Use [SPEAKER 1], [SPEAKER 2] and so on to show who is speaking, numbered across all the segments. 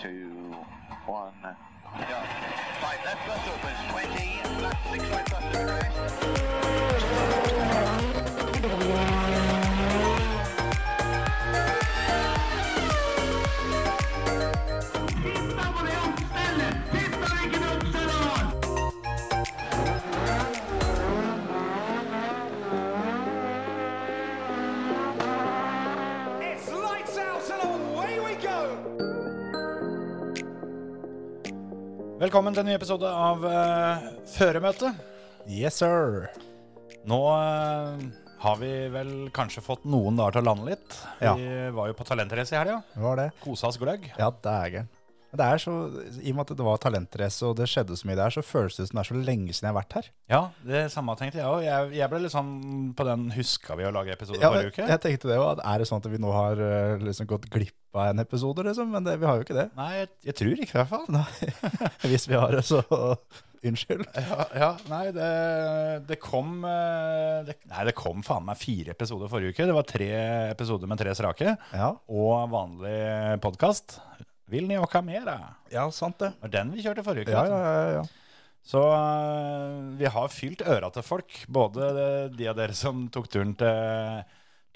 [SPEAKER 1] two, one.
[SPEAKER 2] Five left bus opens 20, left six right bus turn right.
[SPEAKER 3] It's lights out and away we go!
[SPEAKER 4] Velkommen til en ny episode av uh, Føremøte.
[SPEAKER 5] Yes, sir.
[SPEAKER 4] Nå eh, har vi vel kanskje fått noen dager til å lande litt.
[SPEAKER 5] Ja.
[SPEAKER 4] Vi var jo på talentrace i helga.
[SPEAKER 5] Det var det.
[SPEAKER 4] Kosa oss gløgg.
[SPEAKER 5] Ja, det er gæren. Men Det er så, I og med at det var talentrace og det skjedde så mye der, så føles det som det er så lenge siden jeg har vært her.
[SPEAKER 4] Ja, det samme tenkte jeg òg. Jeg, jeg ble litt sånn på den huska vi å lage episode
[SPEAKER 5] Ja,
[SPEAKER 4] forrige uke?
[SPEAKER 5] jeg tenkte det også, at Er det sånn at vi nå har eh, liksom gått glipp av en episode, liksom? Men det, vi har jo ikke det.
[SPEAKER 4] Nei, jeg, jeg tror ikke det, i hvert fall.
[SPEAKER 5] Nei. Hvis vi har det, så unnskyld.
[SPEAKER 4] Ja, ja nei, det, det kom eh, det, Nei, det kom faen meg fire episoder forrige uke. Det var tre episoder med tre strake.
[SPEAKER 5] Ja,
[SPEAKER 4] Og vanlig podkast. Vil ni åka mera?
[SPEAKER 5] ja sant det.
[SPEAKER 4] Det var den vi kjørte forrige uke.
[SPEAKER 5] Ja,
[SPEAKER 4] vet du.
[SPEAKER 5] ja, ja, ja.
[SPEAKER 4] Så øh, vi har fylt øra til folk, både de av dere som tok turen til,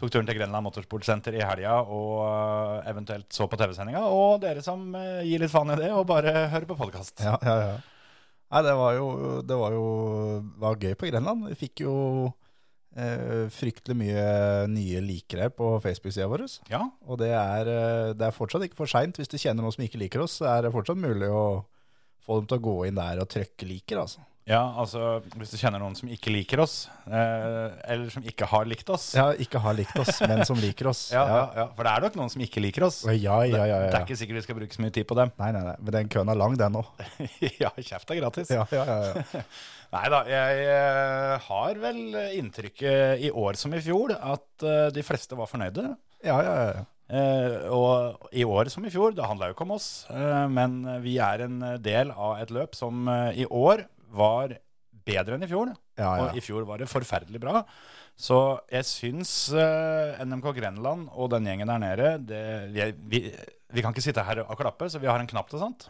[SPEAKER 4] tok turen til Grenland Motorsportsenter i helga og øh, eventuelt så på TV-sendinga, og dere som øh, gir litt faen i det og bare hører på podkast.
[SPEAKER 5] ja, ja, ja. Nei, det var jo, det var jo var gøy på Grenland. Vi fikk jo eh, fryktelig mye nye likere på Facebook-sida vår.
[SPEAKER 4] Ja,
[SPEAKER 5] Og det er, eh, det er fortsatt ikke for seint. Hvis du kjenner noen som ikke liker oss, så er det fortsatt mulig å få dem til å gå inn der og trykke 'liker'. altså.
[SPEAKER 4] ja, altså hvis du kjenner noen som ikke liker oss, øh, eller som ikke har likt oss.
[SPEAKER 5] Ja, ikke har likt oss, men som liker oss.
[SPEAKER 4] Ja, ja, ja, For det er nok noen som ikke liker oss.
[SPEAKER 5] Ja, ja, ja. ja,
[SPEAKER 4] Det
[SPEAKER 5] ja.
[SPEAKER 4] er ikke sikkert vi skal bruke så mye tid på dem.
[SPEAKER 5] Nei, nei, nei. Men den køen er lang, den òg.
[SPEAKER 4] ja, kjeft er gratis.
[SPEAKER 5] Ja, ja, ja, ja.
[SPEAKER 4] Nei da, jeg eh, har vel inntrykket i år som i fjor at eh, de fleste var fornøyde.
[SPEAKER 5] ja, ja, ja.
[SPEAKER 4] Eh, og i år som i fjor, det handla jo ikke om oss, eh, men vi er en del av et løp som eh, i år var bedre enn i fjor.
[SPEAKER 5] ja, ja.
[SPEAKER 4] Og i fjor var det forferdelig bra. Så jeg syns eh, NMK Grenland og den gjengen der nede det, vi, vi, vi kan ikke sitte her og klappe, så vi har en knapp til sånt.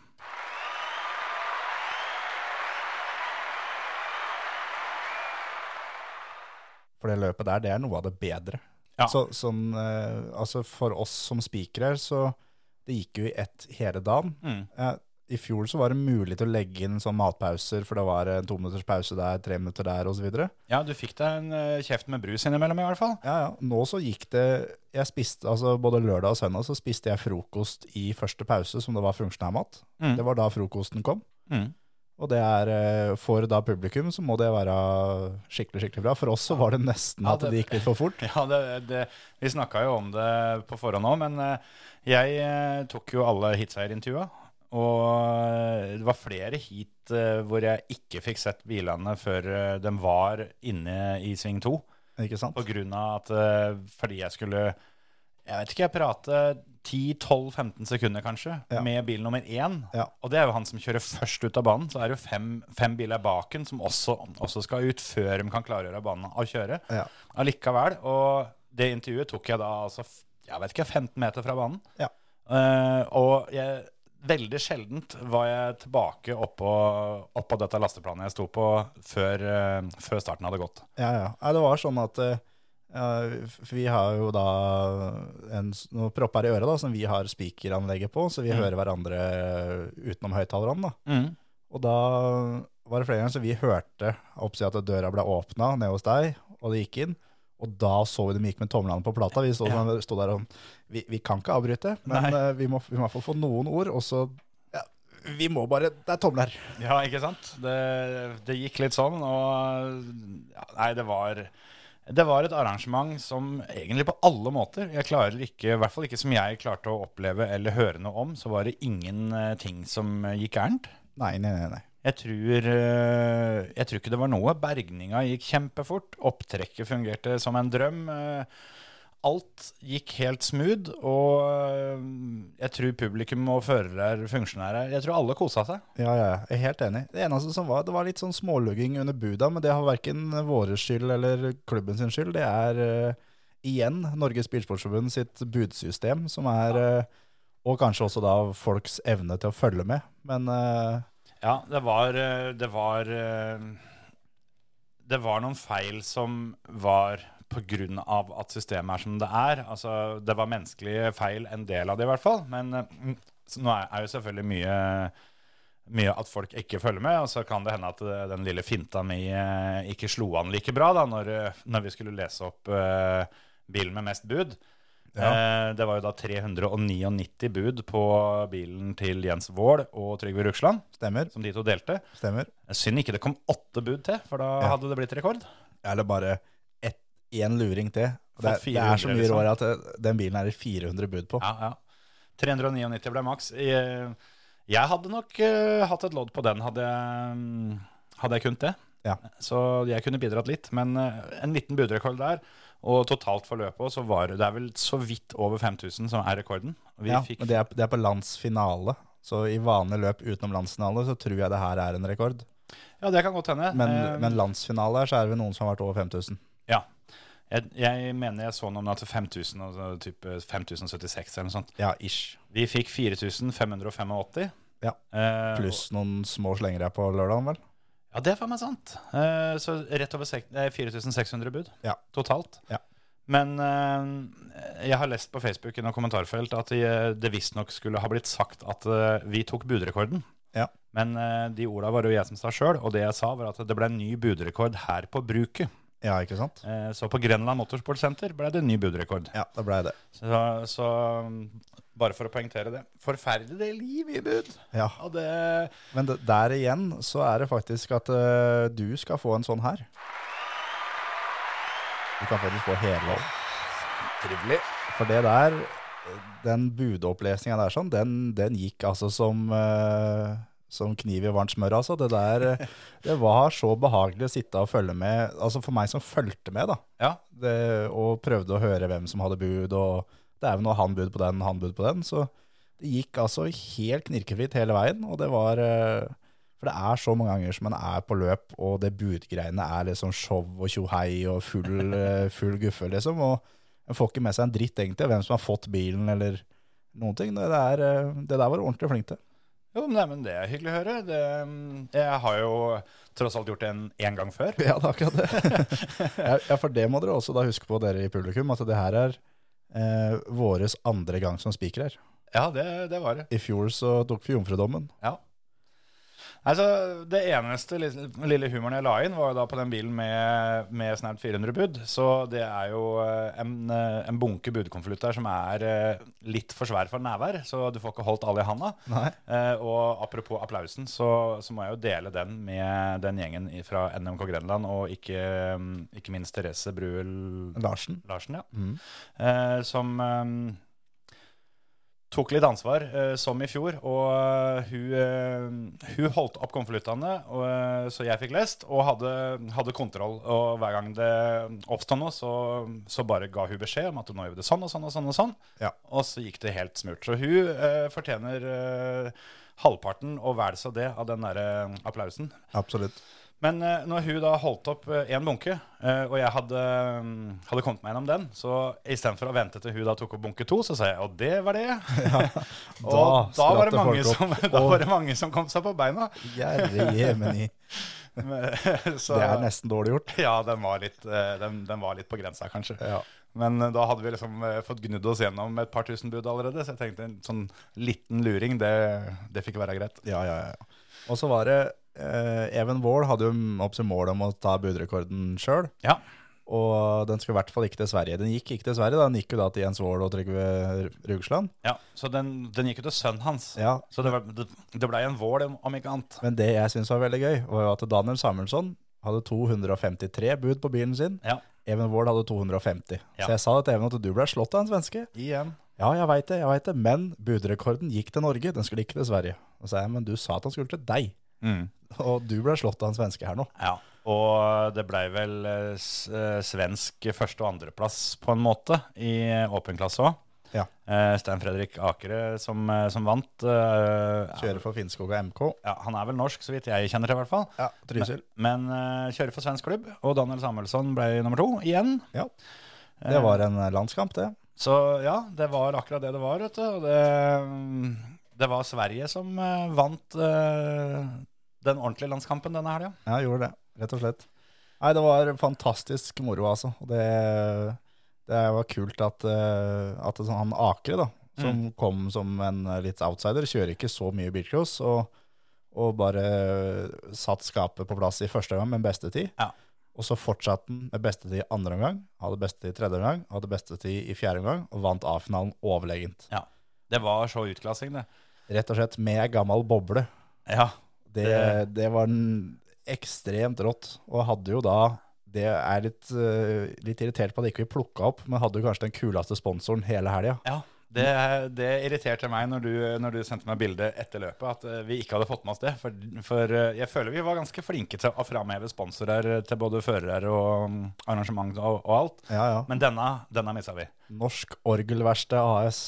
[SPEAKER 5] For det løpet der, det er noe av det bedre.
[SPEAKER 4] Ja.
[SPEAKER 5] Så, sånn, eh, altså for oss som spikere, så det gikk jo i ett hele dagen.
[SPEAKER 4] Mm.
[SPEAKER 5] Eh, I fjor så var det mulig til å legge inn sånn matpauser, for det var en to minutters pause der, tre minutter der, osv. Ja,
[SPEAKER 4] Ja, du fikk deg en eh, kjeft med brus innimellom, i hvert fall.
[SPEAKER 5] ja. Nå så gikk det jeg spiste, altså Både lørdag og søndag så spiste jeg frokost i første pause, som det var funksjonærmat.
[SPEAKER 4] Mm.
[SPEAKER 5] Det var da frokosten kom.
[SPEAKER 4] Mm.
[SPEAKER 5] Og det er eh, for da publikum, så må det være skikkelig, skikkelig bra. For oss så var det nesten
[SPEAKER 4] Ja,
[SPEAKER 5] at
[SPEAKER 4] det-
[SPEAKER 5] det gikk litt for fort.
[SPEAKER 4] Ja, det, det, vi snakka jo om det på forhånd òg, men eh, jeg eh, tok jo alle hitseierintervjua. Og eh, det var flere heat eh, hvor jeg ikke fikk sett bilene før eh, de var inne i sving to.
[SPEAKER 5] Ikke sant?
[SPEAKER 4] På grunn av at eh, fordi jeg skulle Jeg vet ikke, jeg prate 10-12-15 sekunder kanskje
[SPEAKER 5] Ja.
[SPEAKER 4] med bil nummer én.
[SPEAKER 5] Ja.
[SPEAKER 4] Og det er jo han som kjører først ut av banen. Så er det jo fem, fem biler baken som også, også skal ut før de kan klargjøre banen og kjøre.
[SPEAKER 5] Ja.
[SPEAKER 4] Allikevel. Og det intervjuet tok jeg da altså f- jeg vet ikke, 15 meter fra banen.
[SPEAKER 5] Ja.
[SPEAKER 4] Eh, og jeg, veldig sjeldent var jeg tilbake oppå, oppå dette lasteplanet jeg sto på før, eh, før starten hadde gått.
[SPEAKER 5] Ja, ja. Nei, det var sånn at eh, ja, f- vi har jo da en, s- noen propper i øret da, som vi har spikeranlegget på, så vi
[SPEAKER 4] Mm.
[SPEAKER 5] hører hverandre utenom høyttalerne. da. Og da var det flere ganger så vi hørte oppsi at døra ble åpna nede hos deg, og det gikk inn. Og da så vi dem gikk med tomlene på plata. Vi stod, sånn, stod der og vi, vi kan ikke avbryte, men eh, vi må, vi må i hvert fall få noen ord, og så ja, Vi må bare Det er tomler.
[SPEAKER 4] Ja, ikke sant? Det, det gikk litt sånn, og ja, Nei, det var det var et arrangement som egentlig på alle måter Jeg klarer ikke, i hvert fall ikke som jeg klarte å oppleve eller høre noe om, så var det ingen eh, ting som eh, gikk gærent.
[SPEAKER 5] Nei, nei, nei. nei.
[SPEAKER 4] Jeg tror, eh, jeg tror ikke det var noe. Bergninga gikk kjempefort. Opptrekket fungerte som en drøm. eh, Alt gikk helt smooth, og eh, jeg tror publikum og førere, funksjonærer Jeg tror alle kosa seg.
[SPEAKER 5] Ja, ja, ja. jeg er helt enig. Det eneste som var, det var litt sånn smålugging under buda, men det har verken våre skyld eller klubben sin skyld. Det er eh, igjen Norges Bilsportforbund sitt budsystem, som er eh, Og kanskje også da folks evne til å følge med. Men eh,
[SPEAKER 4] Ja, det var eh, Det var, eh, det var noen feil som var på grunn av at systemet er som det er. Altså, det var menneskelige feil, en del av det i hvert fall. Men eh, mm, så nå er- er jo selvfølgelig mye mye at folk ikke følger med, og så kan det hende at eh, den lille finta mi eh, ikke slo an like bra da, når, eh, når vi skulle lese opp eh, bilen med mest bud. Eh, Det var jo da 399 bud på bilen til Jens Vål og Trygve Rugsland
[SPEAKER 5] stemmer.
[SPEAKER 4] som de to delte.
[SPEAKER 5] Stemmer.
[SPEAKER 4] Synd ikke det kom åtte bud til, for da
[SPEAKER 5] Ja.
[SPEAKER 4] hadde det blitt rekord.
[SPEAKER 5] Eller bare ett- én luring til. Og Det,
[SPEAKER 4] Fått
[SPEAKER 5] er- det er så
[SPEAKER 4] 400,
[SPEAKER 5] mye
[SPEAKER 4] liksom.
[SPEAKER 5] råd at eh, den bilen er det 400 bud på.
[SPEAKER 4] Ja, ja. 399 ble maks. Jeg, jeg hadde nok eh, hatt et lodd på den, hadde jeg, mm, hadde jeg kunnet det.
[SPEAKER 5] Ja.
[SPEAKER 4] Så jeg kunne bidratt litt, men eh, en liten budrekord der. Og totalt for løpet også var det- det er vel så vidt over 5000 som er rekorden. Vi
[SPEAKER 5] ja,
[SPEAKER 4] fikk
[SPEAKER 5] men det er, det er på landsfinale. Så i vanlige løp utenom landsfinale så tror jeg det her er en rekord.
[SPEAKER 4] Ja, det kan godt hende.
[SPEAKER 5] Men,
[SPEAKER 4] Eh,
[SPEAKER 5] men landsfinale her så er det vel noen som har vært over 5000.
[SPEAKER 4] ja. Jeg, jeg mener jeg så noen at 5000, altså type 5076 eller noe sånt.
[SPEAKER 5] Ja, ish.
[SPEAKER 4] Vi fikk 4585.
[SPEAKER 5] Ja.
[SPEAKER 4] Eh,
[SPEAKER 5] Pluss noen små slengere på lørdagen, vel?
[SPEAKER 4] Ja, det er faen meg sant. Eh, så rett over sek- eh, 4600 bud
[SPEAKER 5] Ja.
[SPEAKER 4] totalt.
[SPEAKER 5] Ja.
[SPEAKER 4] Men eh, jeg har lest på Facebook i noen kommentarfelt at eh, det visstnok skulle ha blitt sagt at eh, vi tok budrekorden.
[SPEAKER 5] Ja.
[SPEAKER 4] Men eh, de orda var det jo jeg som sa sjøl, og det jeg sa var at det ble en ny budrekord her på bruket.
[SPEAKER 5] Ja, ikke sant?
[SPEAKER 4] Eh, så på Grenland Motorsport Center ble det en ny budrekord.
[SPEAKER 5] Ja, det blei det.
[SPEAKER 4] Så, så mm, bare for å poengtere det. Forferdelig liv i bud!
[SPEAKER 5] Ja.
[SPEAKER 4] Og det
[SPEAKER 5] Men det, der igjen så er det faktisk at eh, du skal få en sånn her. Du kan faktisk få hele opp.
[SPEAKER 4] Trivelig.
[SPEAKER 5] For det der, den budopplesninga der sånn, den, den gikk altså som, eh, som kniv i varmt smør, altså. Det der eh, Det var så behagelig å sitte og følge med. Altså for meg som fulgte med, da.
[SPEAKER 4] Ja,
[SPEAKER 5] Det, og prøvde å høre hvem som hadde bud, og det er jo noe han bud på den, han bud på den. Så det gikk altså helt knirkefritt hele veien, og det var eh, For det er så mange ganger som man er på løp, og det budgreiene er liksom show og tjohei og full, eh, full guffe, liksom. Og en får ikke med seg en dritt egentlig av hvem som har fått bilen eller noen ting. Det der, eh, det der var du ordentlig flink til.
[SPEAKER 4] Jo, men det, men det er hyggelig å høre. Det, mm, jeg har jo tross alt gjort det en, en gang før.
[SPEAKER 5] Ja, det er akkurat det. ja, ja, for det må dere også da huske på, dere i publikum, at det her er eh, våres andre gang som speaker her.
[SPEAKER 4] Ja, det, det var det.
[SPEAKER 5] I fjor så tok vi jomfrudommen.
[SPEAKER 4] Ja. Altså, det eneste lille, lille humoren jeg la inn, var jo da på den bilen med, med snaut 400 bud. Så det er jo eh, en, eh, en bunke budkonvolutt der som er eh, litt for svær for nærvær, så du får ikke holdt alle i handa.
[SPEAKER 5] Nei.
[SPEAKER 4] Eh, og apropos applausen, så, så må jeg jo dele den med den gjengen i- fra NMK Grenland, og ikke, mm, ikke minst Therese Bruel
[SPEAKER 5] Larsen.
[SPEAKER 4] Larsen, ja.
[SPEAKER 5] Mm.
[SPEAKER 4] Eh, som eh, tok litt ansvar, eh, som i fjor. Og eh, hun, eh, hun holdt opp konvoluttene, og, eh, så jeg fikk lest, og hadde, hadde kontroll. Og hver gang det oppstod noe, så, så bare ga hun beskjed om at nå gjør vi det sånn og sånn og sånn. Og sånn.
[SPEAKER 5] Ja.
[SPEAKER 4] Og så gikk det helt smurt. Så hun eh, fortjener eh, halvparten og vel så det av den derre applausen.
[SPEAKER 5] Absolutt.
[SPEAKER 4] Men eh, når hun da holdt opp én bunke, eh, og jeg hadde, mm, hadde kommet meg gjennom den, så istedenfor å vente til hun da tok opp bunke to, så sa jeg og det var det. og da,
[SPEAKER 5] spratt
[SPEAKER 4] var
[SPEAKER 5] det
[SPEAKER 4] det, mange
[SPEAKER 5] folk
[SPEAKER 4] som,
[SPEAKER 5] opp.
[SPEAKER 4] da var det mange som kom seg på beina.
[SPEAKER 5] Gjerre jemeni.
[SPEAKER 4] Men, så,
[SPEAKER 5] Det er nesten dårlig gjort.
[SPEAKER 4] Ja, den var litt, eh, den, den var litt på grensa, kanskje. Men eh, da hadde vi liksom eh, fått gnudd oss gjennom et par tusen bud allerede, så jeg tenkte en sånn liten luring, det, det fikk være greit.
[SPEAKER 5] Ja, ja, ja. Og så var det eh, Even Wold hadde jo opp til mål om å ta budrekorden sjøl.
[SPEAKER 4] Ja.
[SPEAKER 5] Og den skulle i hvert fall ikke til Sverige. Den gikk ikke til Sverige, da. den gikk jo da til Jens Wold og Trygve Rugsland.
[SPEAKER 4] ja så den, den gikk jo til sønnen hans.
[SPEAKER 5] Ja.
[SPEAKER 4] Så det, var- det, det blei en vål, om- om ikke annet.
[SPEAKER 5] Men det jeg syns var veldig gøy, var jo at Daniel Samuelsson hadde 253 bud på bilen sin.
[SPEAKER 4] Ja.
[SPEAKER 5] Even Wold hadde 250.
[SPEAKER 4] Ja.
[SPEAKER 5] Så jeg sa det til Even at du ble slått av en svenske.
[SPEAKER 4] Igjen.
[SPEAKER 5] Ja, jeg veit det, jeg vet det, men budrekorden gikk til Norge, den skulle ikke til Sverige. Og så sa jeg, men du sa at han skulle til deg, Mm. og du ble slått av en svenske her nå.
[SPEAKER 4] Ja. Og det blei vel eh, s- eh, svensk første- og andreplass på en måte i åpen klasse òg.
[SPEAKER 5] Ja.
[SPEAKER 4] Stein Fredrik Akere som, eh, som vant. eh,
[SPEAKER 5] Kjører for Finnskoga MK.
[SPEAKER 4] Ja, han er vel norsk, så vidt jeg kjenner til, i hvert fall.
[SPEAKER 5] Ja, Trysil.
[SPEAKER 4] Men eh, kjører for svensk klubb, og Daniel Samuelsson ble nummer to igjen.
[SPEAKER 5] Ja. Det var en landskamp, det.
[SPEAKER 4] Så ja, det var akkurat det det var, vet du. Og det, mm, det var Sverige som eh, vant eh, den ordentlige landskampen denne helga.
[SPEAKER 5] Ja, gjorde det, rett og slett. Nei, det var fantastisk moro, altså. Og Det, det var kult at, eh, at det, sånn, han Akre, da, som kom som en eh, litt outsider, kjører ikke så mye bilcross, og, og bare eh, satt skapet på plass i første omgang med beste tid.
[SPEAKER 4] Ja.
[SPEAKER 5] Og så fortsatte han med beste tid i andre omgang, hadde beste tid i tredje omgang, hadde beste tid i fjerde omgang, og vant A-finalen overlegent.
[SPEAKER 4] Ja. Det var så utklassing, det.
[SPEAKER 5] Rett og slett med ei gammel boble.
[SPEAKER 4] Ja.
[SPEAKER 5] Det, det var en ekstremt rått. Og hadde jo da Det er litt, eh, litt irritert på at ikke vi plukka opp, men hadde jo kanskje den kuleste sponsoren hele helga.
[SPEAKER 4] ja. Det, det irriterte meg når du, når du sendte meg bilde etter løpet, at eh, vi ikke hadde fått med oss det. For, for eh, jeg føler vi var ganske flinke til å framheve sponsorer eh, til både førere og mm, arrangement og, og alt.
[SPEAKER 5] Ja, ja.
[SPEAKER 4] Men denne, denne missa vi.
[SPEAKER 5] Norsk Orgelverksted AS.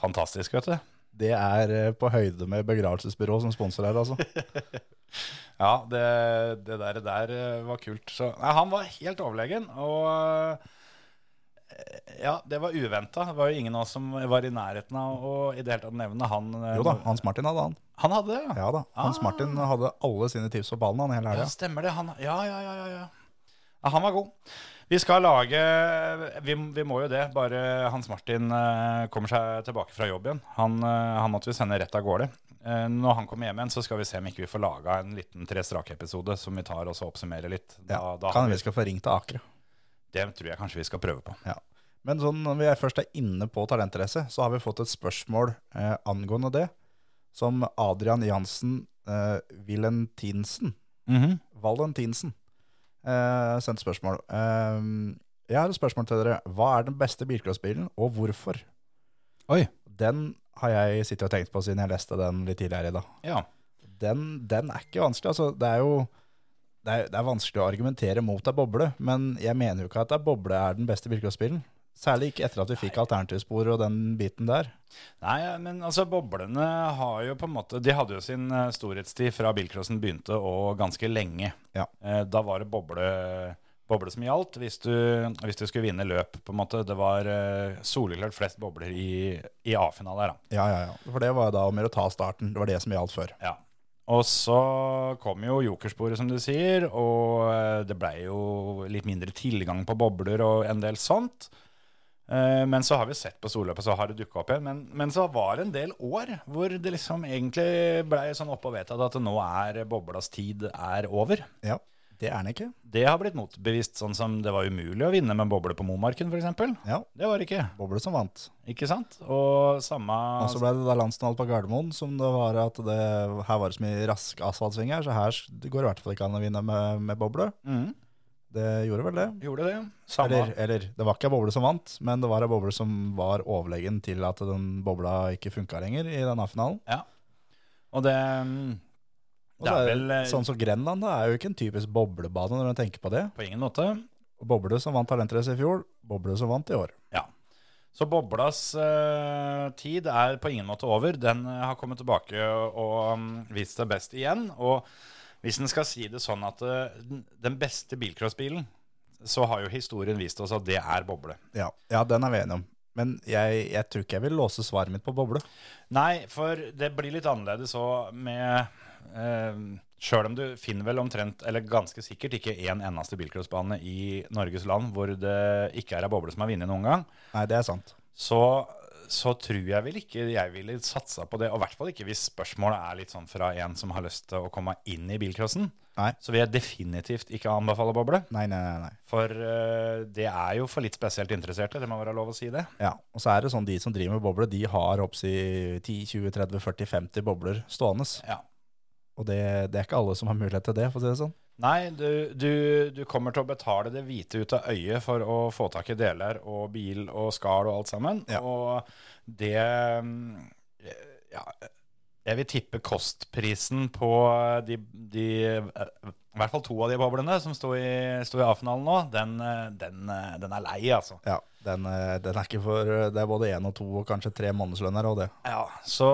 [SPEAKER 4] Fantastisk, vet du.
[SPEAKER 5] Det er eh, på høyde med begravelsesbyrå som sponsor her, altså.
[SPEAKER 4] Ja, det, det der, der eh, var kult. Så, nei, han var helt overlegen, og eh, ja, det var uventa. Det var jo ingen av oss som var i nærheten av å i det hele tatt nevne han. eh,
[SPEAKER 5] Jo da, Hans Martin hadde han.
[SPEAKER 4] Han hadde det, ja.
[SPEAKER 5] Ja da, Hans
[SPEAKER 4] Ah.
[SPEAKER 5] Martin hadde alle sine tips på ballen han hele
[SPEAKER 4] Ja,
[SPEAKER 5] helga.
[SPEAKER 4] stemmer det. Han, ja, ja, ja, ja, ja. ja. Han var god. Vi skal lage vi, vi må jo det. Bare Hans Martin eh, kommer seg tilbake fra jobb igjen. Han, eh, han måtte vi sende rett av gårde. Eh, når han kommer hjem igjen, så skal vi se om ikke vi får laga en liten Tre strake-episode som vi tar og så oppsummerer litt. Da, da har
[SPEAKER 5] Kan
[SPEAKER 4] vi,
[SPEAKER 5] vi skal få ringt til Akre.
[SPEAKER 4] det tror jeg kanskje vi skal prøve på.
[SPEAKER 5] Ja. Men sånn, når vi er først er inne på talentrace, så har vi fått et spørsmål eh, angående det, som Adrian Jansen eh, Valentinsen,
[SPEAKER 4] Mhm.
[SPEAKER 5] Valentinsen eh, sendte spørsmål. Eh, jeg har et spørsmål til dere. Hva er den beste bilcrossbilen, og hvorfor?
[SPEAKER 4] Oi.
[SPEAKER 5] Den har jeg sittet og tenkt på siden jeg leste den litt tidligere i dag.
[SPEAKER 4] Ja.
[SPEAKER 5] Den, den er ikke vanskelig, altså. Det er jo det er, det er vanskelig å argumentere mot ei boble, men jeg mener jo ikke at ei boble er den beste bilcrossbilen. Særlig ikke etter at vi fikk alternativspor og den biten der.
[SPEAKER 4] Nei, men altså boblene har jo på en måte De hadde jo sin eh, storhetstid fra bilcrossen begynte og ganske lenge.
[SPEAKER 5] Ja.
[SPEAKER 4] Eh, Da var det boble, boble som gjaldt hvis du, hvis du skulle vinne løp, på en måte. Det var eh, soleklart flest bobler i, i A-finale her, da.
[SPEAKER 5] Ja, ja, ja. For det var jo da om å gjøre å ta starten. Det var det som gjaldt før.
[SPEAKER 4] Ja. Og så kom jo jokersporet, som du sier, og eh, det blei jo litt mindre tilgang på bobler og en del sånt. Eh, Men så har vi sett på solløpet, så har det dukka opp igjen. Men, men så var det en del år hvor det liksom egentlig blei sånn oppe og vedtatt at nå er boblas tid er over.
[SPEAKER 5] Ja, det er den ikke.
[SPEAKER 4] Det har blitt motbevist, sånn som det var umulig å vinne med boble på Momarken, f.eks.
[SPEAKER 5] Ja,
[SPEAKER 4] Det var det ikke,
[SPEAKER 5] boble som vant.
[SPEAKER 4] ikke sant? Og samme
[SPEAKER 5] Og så Altså, ble det da landsfinale på Gardermoen, som det var at det, her var det så mye raske asfaltsvinger, så her går det i hvert fall ikke an å vinne med, med boble.
[SPEAKER 4] Mhm,
[SPEAKER 5] Det gjorde vel det.
[SPEAKER 4] Gjorde det. Samme.
[SPEAKER 5] Eller, eller, det var ikke ei boble som vant, men det var ei boble som var overlegen til at den bobla ikke funka lenger i den A-finalen.
[SPEAKER 4] Og det mm,
[SPEAKER 5] Og
[SPEAKER 4] Det
[SPEAKER 5] så
[SPEAKER 4] er
[SPEAKER 5] er-
[SPEAKER 4] vel eh,
[SPEAKER 5] Sånn som Grenland da, er jo ikke en typisk boblebane når en tenker på det.
[SPEAKER 4] på ingen måte.
[SPEAKER 5] Boble som vant talentrace i fjor, boble som vant i år.
[SPEAKER 4] Ja. Så boblas eh, tid er på ingen måte over. Den eh, har kommet tilbake og mm, vist seg best igjen. Og hvis en skal si det sånn at eh, den- den beste bilcrossbilen, så har jo historien vist oss at det er boble.
[SPEAKER 5] Ja, ja den er vi enige om. Men jeg, jeg tror ikke jeg vil låse svaret mitt på boble.
[SPEAKER 4] Nei, for det blir litt annerledes òg med eh, Sjøl om du finner vel omtrent, eller ganske sikkert, ikke én eneste bilcrossbane i Norges land hvor det ikke er ei boble som har vunnet noen gang.
[SPEAKER 5] Nei, det er sant.
[SPEAKER 4] så, så tror jeg vel ikke jeg ville satsa på det. Og i hvert fall ikke hvis spørsmålet er litt sånn fra en som har lyst til å komme inn i bilcrossen.
[SPEAKER 5] Nei.
[SPEAKER 4] Så vil jeg definitivt ikke anbefale boble.
[SPEAKER 5] Nei, nei, nei. nei.
[SPEAKER 4] For eh, det er jo for litt spesielt interesserte, det må være lov å si det.
[SPEAKER 5] Ja, og så er det sånn de som driver med boble, de har oppsi 10, 20, 30, 40, 50 bobler stående.
[SPEAKER 4] Ja.
[SPEAKER 5] Og det, det er ikke alle som har mulighet til det, for å si det sånn.
[SPEAKER 4] Nei, du, du, du kommer til å betale det hvite ut av øyet for å få tak i deler og bil og skall og alt sammen.
[SPEAKER 5] Ja.
[SPEAKER 4] Og det mm, ja, Jeg vil tippe kostprisen på de, de eh, I hvert fall to av de boblene som sto i, sto i A-finalen nå, den, eh, den, eh, den er lei, altså.
[SPEAKER 5] Ja, den, eh, den er ikke for Det er både én og to og kanskje tre månedslønner og det.
[SPEAKER 4] Ja, så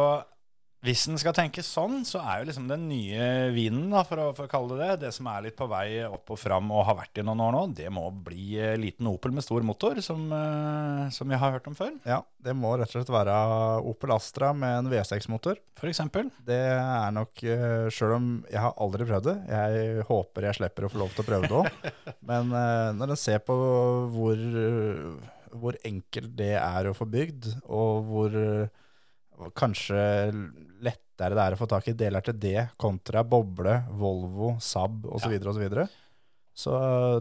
[SPEAKER 4] Hvis en skal tenke sånn, så er jo liksom den nye vinen, da, for å, for å kalle det det, det som er litt på vei opp og fram og har vært i noen år nå, det må bli eh, liten Opel med stor motor, som, eh, som vi har hørt om før,
[SPEAKER 5] Ja, det må rett og slett være Opel Astra med en V6-motor.
[SPEAKER 4] for eksempel.
[SPEAKER 5] Det er nok, eh, sjøl om jeg har aldri prøvd det, jeg håper jeg slipper å få lov til å prøve det òg. Men eh, når en ser på hvor, eh, hvor enkelt det er å få bygd, og hvor eh, kanskje lettere det er å få tak i deler til det, kontra boble, Volvo, Saab osv., så, videre, og så, videre, så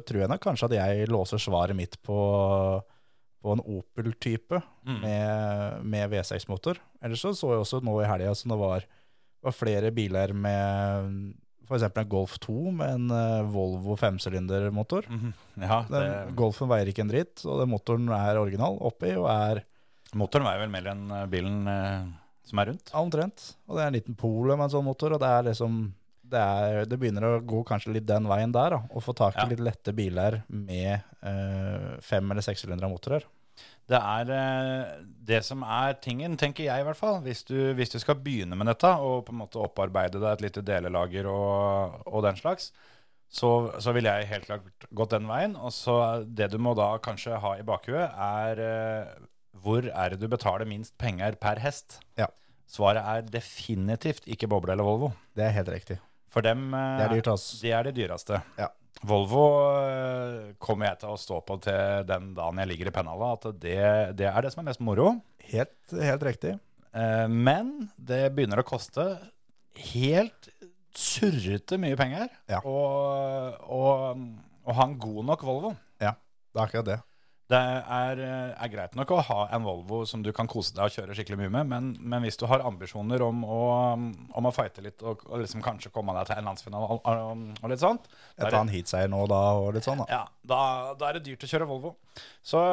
[SPEAKER 5] tror jeg nok kanskje at jeg låser svaret mitt på, på en Opel-type
[SPEAKER 4] Mm.
[SPEAKER 5] med, med V6-motor. Ellers så, så jeg også nå i helga som det var, var flere biler med f.eks. en Golf 2 med en eh, Volvo femsylindermotor.
[SPEAKER 4] Mhm. Ja,
[SPEAKER 5] Den
[SPEAKER 4] det,
[SPEAKER 5] Golfen veier ikke en dritt, og den motoren er original oppi og er
[SPEAKER 4] motoren veier vel mer enn eh, bilen eh, som er rundt.
[SPEAKER 5] Ja, omtrent. Og det er en liten polo med en sånn motor, og det er liksom det, er, det begynner å gå kanskje litt den veien der, da, å få tak i
[SPEAKER 4] Ja.
[SPEAKER 5] litt lette biler med eh, fem- eller sekssylindra motorer.
[SPEAKER 4] Det er eh, det som er tingen, tenker jeg i hvert fall. Hvis du, hvis du skal begynne med dette og på en måte opparbeide deg et lite delelager og, og den slags, så, så vil jeg helt klart gått den veien. Og så det du må da kanskje ha i bakhuet, er eh, hvor er det du betaler minst penger per hest?
[SPEAKER 5] Ja.
[SPEAKER 4] Svaret er definitivt ikke boble eller Volvo.
[SPEAKER 5] Det er helt riktig.
[SPEAKER 4] For dem eh,
[SPEAKER 5] Det er dyrt, altså. ass.
[SPEAKER 4] det er de dyreste.
[SPEAKER 5] Ja.
[SPEAKER 4] Volvo eh, kommer jeg til å stå på til den dagen jeg ligger i pennhalla, at det, det er det som er mest moro.
[SPEAKER 5] Helt, helt riktig.
[SPEAKER 4] Eh, Men det begynner å koste helt surrete mye penger
[SPEAKER 5] Ja.
[SPEAKER 4] og, og, og ha en god nok Volvo.
[SPEAKER 5] Det er akkurat det.
[SPEAKER 4] Det er, eh, er greit nok å ha en Volvo som du kan kose deg og kjøre skikkelig mye med, men, men hvis du har ambisjoner om å, om å fighte litt og, og liksom kanskje komme deg til en landsfinale og, og, og litt sånt, da
[SPEAKER 5] Jeg
[SPEAKER 4] er det-
[SPEAKER 5] tar en heatseier nå og da og litt sånn, da.
[SPEAKER 4] ja, da, da er det dyrt å kjøre Volvo. Så